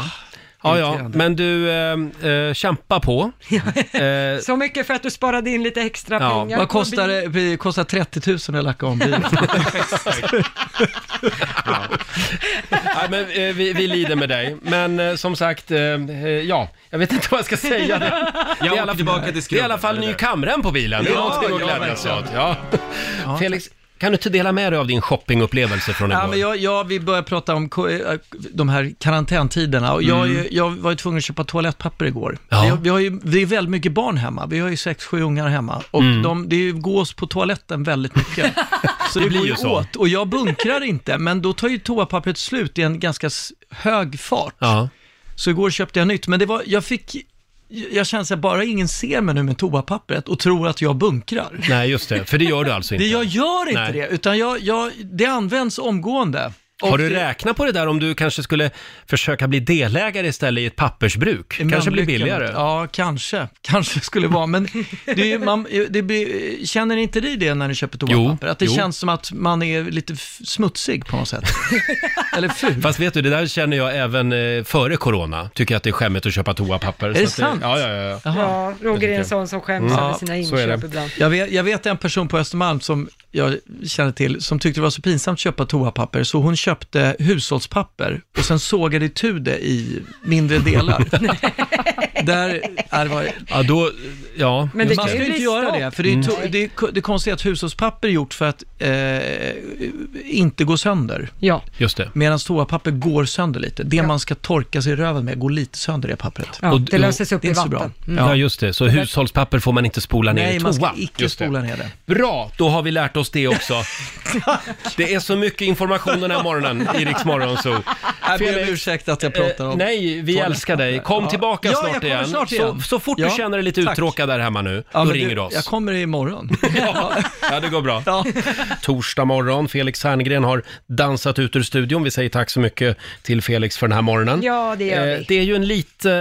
Ja, ja, irriterande. men du, eh, eh, kämpa på. Eh, Så mycket för att du sparade in lite extra Ja, pengar. Vad på kostar bil. det? det? kostar 30 000 att lacka om bilen. Nej, men, eh, vi, vi lider med dig. Men eh, som sagt, eh, eh, ja, jag vet inte vad jag ska säga. Det, Jag det, är, i åker alla, tillbaka fall- till det är i alla skrubben, fall det ny där. kamren på bilen. Det är Ja, någonting att ja, glädjas verkligen. åt. Ja. Felix, kan du inte dela med dig av din shoppingupplevelse från igår? Ja, men jag, jag, vi börjar prata om ko- eh, de här karantäntiderna. Och jag, Mm. jag var ju tvungen att köpa toalettpapper igår. Vi, har- vi har ju, det är väldigt mycket barn hemma. Vi har ju sex, sju ungar hemma. Och Mm. de, det är ju gås på toaletten väldigt mycket. så det, Det blir går ju ju så. åt. Och jag bunkrar inte, men då tar ju toapappret slut i en ganska s- hög fart. Ja. Så igår köpte jag nytt, men det var, jag fick... Jag känner så här, bara ingen ser mig nu med toapappret och tror att jag bunkrar. Nej, just det. För det gör du alltså inte. Det, jag gör inte Nej. det, utan jag, jag, det används omgående. Har Och du det- räknat på det där om du kanske skulle försöka bli delägare istället i ett pappersbruk? Kanske blir Namnlyckan. billigare? Ja, kanske. Kanske skulle vara, men det är, ju- man, det blir, känner inte ni det när ni köper toapapper? Jo, Att det jo. känns som att man är lite f- smutsig på något sätt? Eller ful. Fast vet du, det där känner jag även eh, före corona. Tycker jag att det är skämmigt att köpa toapapper. Är det sant? Ja, ja, ja. ja. Ja, Roger är en sån som skäms Mm. över Ja, sina så är det. inköp ibland. Jag vet, jag vet en person på Östermalm som jag känner till, som tyckte det var så pinsamt att köpa toapapper, så hon köpte hushållspapper och sen sågade itu det i mindre delar. Där, ja, det var, ja, då, ja. Men just Mm. man ska inte göra det, för det är, ju to- det, är, ko- det konstiga är att hushållspapper är gjort för att eh, inte gå sönder. Ja. Just det. Medan toapapper går sönder lite. Det man ska torka sig i röven med går lite sönder i det pappret. Ja, Och- det löses upp Det är i inte så bra. vatten. Mm. Ja, just det. Så hushållspapper får man inte spola ner i Nej, toan. man ska icke Just spola ner det. Bra, då har vi lärt oss det också. det är så mycket information den här morgonen i Rix Morgon Zoo. Jag ber om Felix, ursäkt att jag pratar om... eh, nej, vi toaletten. älskar dig. Kom Ja. tillbaka ja, jag snart, kommer igen. snart igen. Så, så fort Ja, du känner dig lite tack. uttråkad där hemma nu, Ja, då men ringer du, du oss. Jag kommer imorgon. Ja, det går bra. Torsdag morgon, Felix Herngren har dansat ut ur studion. Vi säger tack så mycket till Felix för den här morgonen. Ja, det gör Eh, vi. Det är ju en lite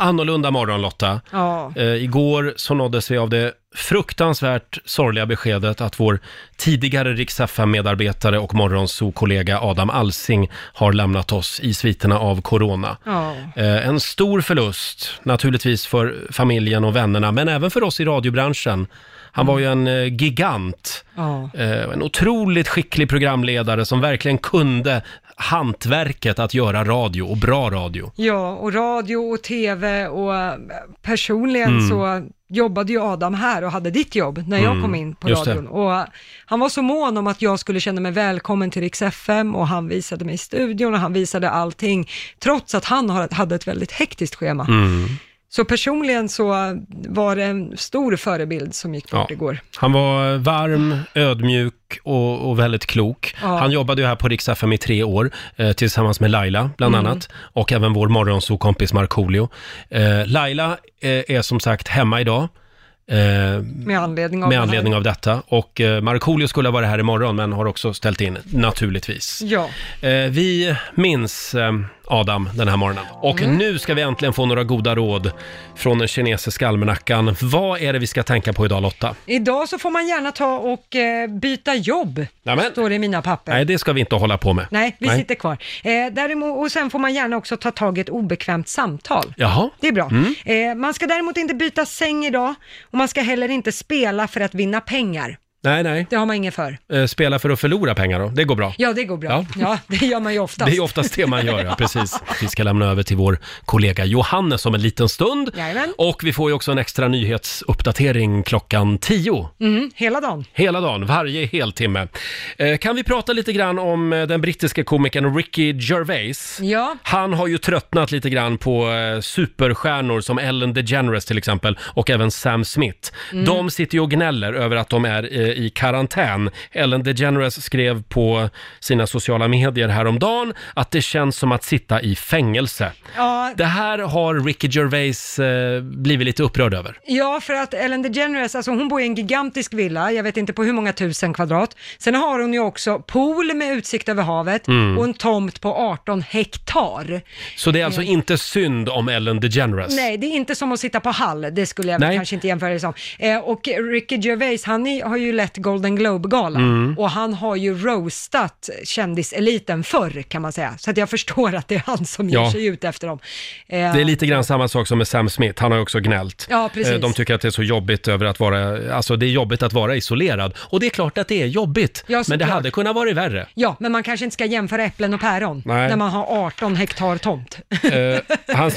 eh, annorlunda morgon, Lotta. Ja. Eh, igår så nåddes vi av det fruktansvärt sorgliga beskedet att vår tidigare Rix medarbetare och morgonsokollega Adam Alsing har lämnat oss i sviterna av corona. Ja. Eh, En stor förlust, naturligtvis för familjen och vännerna, men även för oss i radiobranschen. Han var ju en eh, gigant, Ja. eh, en otroligt skicklig programledare som verkligen kunde hantverket att göra radio och bra radio. Ja, och radio och tv och eh, personligen Mm. så jobbade ju Adam här och hade ditt jobb när jag Mm, kom in på just det. radion. Och eh, han var så mån om att jag skulle känna mig välkommen till Rix FM och han visade mig studion och han visade allting, trots att han har- hade ett väldigt hektiskt schema. Mm. Så personligen så var det en stor förebild som gick bort Ja. igår. Han var varm, ödmjuk och, och väldigt klok. Ja. Han jobbade ju här på Rix FM i tre år eh, tillsammans med Laila bland Mm. annat och även vår morgonsokompis Markoolio. Eh, Laila eh, är som sagt hemma idag. Eh, Med anledning av med det här. anledning av detta. Och eh, Markoolio skulle ha varit här imorgon men har också ställt in, naturligtvis. Ja. Eh, vi minns eh, Adam den här morgonen. Och Mm. nu ska vi äntligen få några goda råd från den kinesiska almanackan. Vad är det vi ska tänka på idag Lotta? Idag så får man gärna ta och eh, byta jobb, Nämen. står det i mina papper. Nej, det ska vi inte hålla på med. Nej, vi sitter kvar. Eh, däremot, och sen får man gärna också ta tag i ett obekvämt samtal. Jaha. Det är bra. Mm. Eh, man ska däremot inte byta säng idag och man ska heller inte spela för att vinna pengar. Nej, nej. Det har man ingen för. Eh, Spela för att förlora pengar då, det går bra. Ja, det går bra. Ja, Ja. det gör man ju oftast. Det är ju oftast det man gör, ja, precis. Vi ska lämna över till vår kollega Johannes om en liten stund. Jajamän. Och vi får ju också en extra nyhetsuppdatering klockan 10. Mm, hela dagen. Hela dagen, varje heltimme. Eh, kan vi prata lite grann om eh, den brittiske komikern Ricky Gervais? Ja. Han har ju tröttnat lite grann på eh, superstjärnor som Ellen DeGeneres till exempel och även Sam Smith. Mm. De sitter ju och gnäller över att de är eh, i karantän. Ellen DeGeneres skrev på sina sociala medier häromdagen att det känns som att sitta i fängelse. Ja, Det här har Ricky Gervais eh, blivit lite upprörd över. Ja, för att Ellen DeGeneres, alltså hon bor i en gigantisk villa, jag vet inte på hur många tusen kvadrat. Sen har hon ju också pool med utsikt över havet Mm. och en tomt på 18 hektar. Så det är alltså inte synd om Ellen DeGeneres. Nej, det är inte som att sitta på Hall, det skulle jag väl Nej. kanske inte jämföra det som. Eh, och Ricky Gervais, han är, har ju lett Golden Globe-galan Mm. och han har ju roastat kändiseliten förr kan man säga. Så att jag förstår att det är han som ger Ja. sig ut efter dem. Eh, Det är lite grann samma sak som med Sam Smith, han har ju också gnällt. Ja, precis. Eh, De tycker att det är så jobbigt över att vara, alltså det är jobbigt att vara isolerad. Och det är klart att det är jobbigt, Ja, men det såklart. hade kunnat vara värre. Ja, men man kanske inte ska jämföra äpplen och päron Nej. när man har 18 hektar tomt. Eh, han,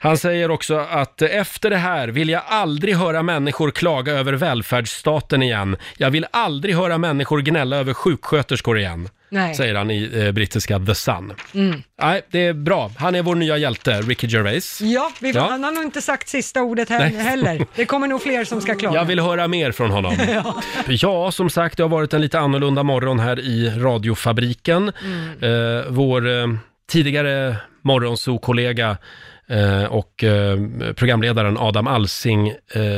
han säger också att eh, efter det här vill jag aldrig höra människor klaga över välfärdsstaten igen. Jag vill aldrig höra människor gnälla över sjuksköterskor igen. Nej. Säger han i eh, brittiska The Sun. Mm. Nej, det är bra. Han är vår nya hjälte, Ricky Gervais. Ja, vi, Ja. han har nog inte sagt sista ordet här Nej. heller. Det kommer nog fler som ska klaga. Jag vill höra mer från honom. Ja. Ja, som sagt, det har varit en lite annorlunda morgon här i radiofabriken. Mm. Eh, vår eh, tidigare morgonsokollega eh, och eh, programledaren Adam Alsing eh,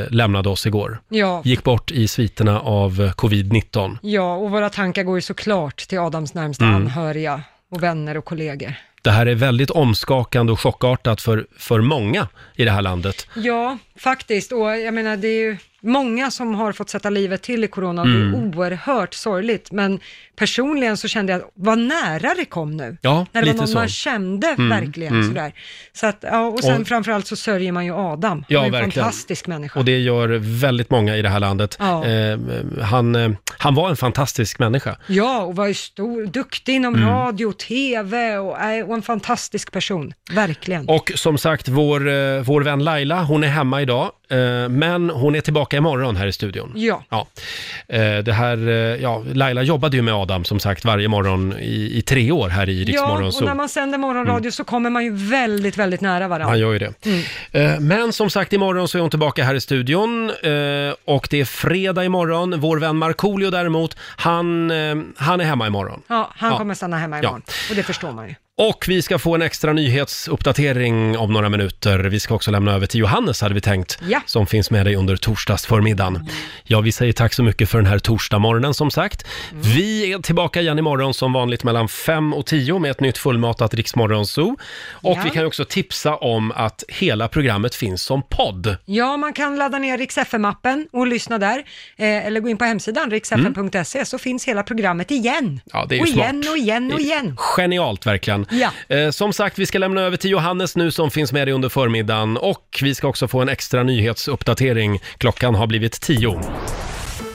lämnade oss igår. Ja. Gick bort i sviterna av eh, covid-19. Ja, och våra tankar går ju såklart till Adams närmsta Mm. anhöriga och vänner och kollegor. Det här är väldigt omskakande och chockartat för, för många i det här landet. Ja, faktiskt. Och jag menar, det är ju många som har fått sätta livet till i corona och det är Mm. oerhört sorgligt. Men personligen så kände jag att vad nära det kom nu. Ja, När det var lite någon så. man kände Mm, verkligen mm. sådär. Så att, ja, och sen Och- framförallt så sörjer man ju Adam. Ja, Han var ju en verkligen. fantastisk människa. Och det gör väldigt många i det här landet. Ja. Eh, han, eh, han var en fantastisk människa. Ja, och var ju stor, duktig inom Mm. radio, tv och, nej, och en fantastisk person. Verkligen. Och som sagt, vår, eh, vår vän Laila, hon är hemma idag, eh, men hon är tillbaka imorgon här i studion. Ja. Ja. Eh, Det här, eh, ja, Laila jobbade ju med Adam som sagt varje morgon i, i tre år här i Rix Ja, och Morgonzoo. när man sänder morgonradio Mm. så kommer man ju väldigt, väldigt nära varandra. Han gör ju det. Mm. Eh, Men som sagt, imorgon så är hon tillbaka här i studion eh, och det är fredag imorgon. Vår vän Markoolio däremot, han, eh, han är hemma imorgon. Ja, han Ja. kommer stanna hemma Ja. imorgon. Och det förstår man ju. Och vi ska få en extra nyhetsuppdatering om några minuter. Vi ska också lämna över till Johannes hade vi tänkt, Ja. som finns med dig under torsdagsförmiddagen. Ja, vi säger tack så mycket för den här torsdagmorgonen som sagt. Mm. Vi är tillbaka igen imorgon som vanligt mellan 5 och 10 med ett nytt fullmatat Riksmorgonzoo. Och Ja. vi kan ju också tipsa om att hela programmet finns som podd. Ja, man kan ladda ner Rix FM-appen och lyssna där. Eh, eller gå in på hemsidan, riksfm.se, E, så finns hela programmet igen. Mm. Ja, det är ju och igen smart. och igen och Det är igen. Genialt verkligen. Ja. Eh, som sagt, vi ska lämna över till Johannes nu som finns med dig under förmiddagen och vi ska också få en extra nyhetsuppdatering. Klockan har blivit tio.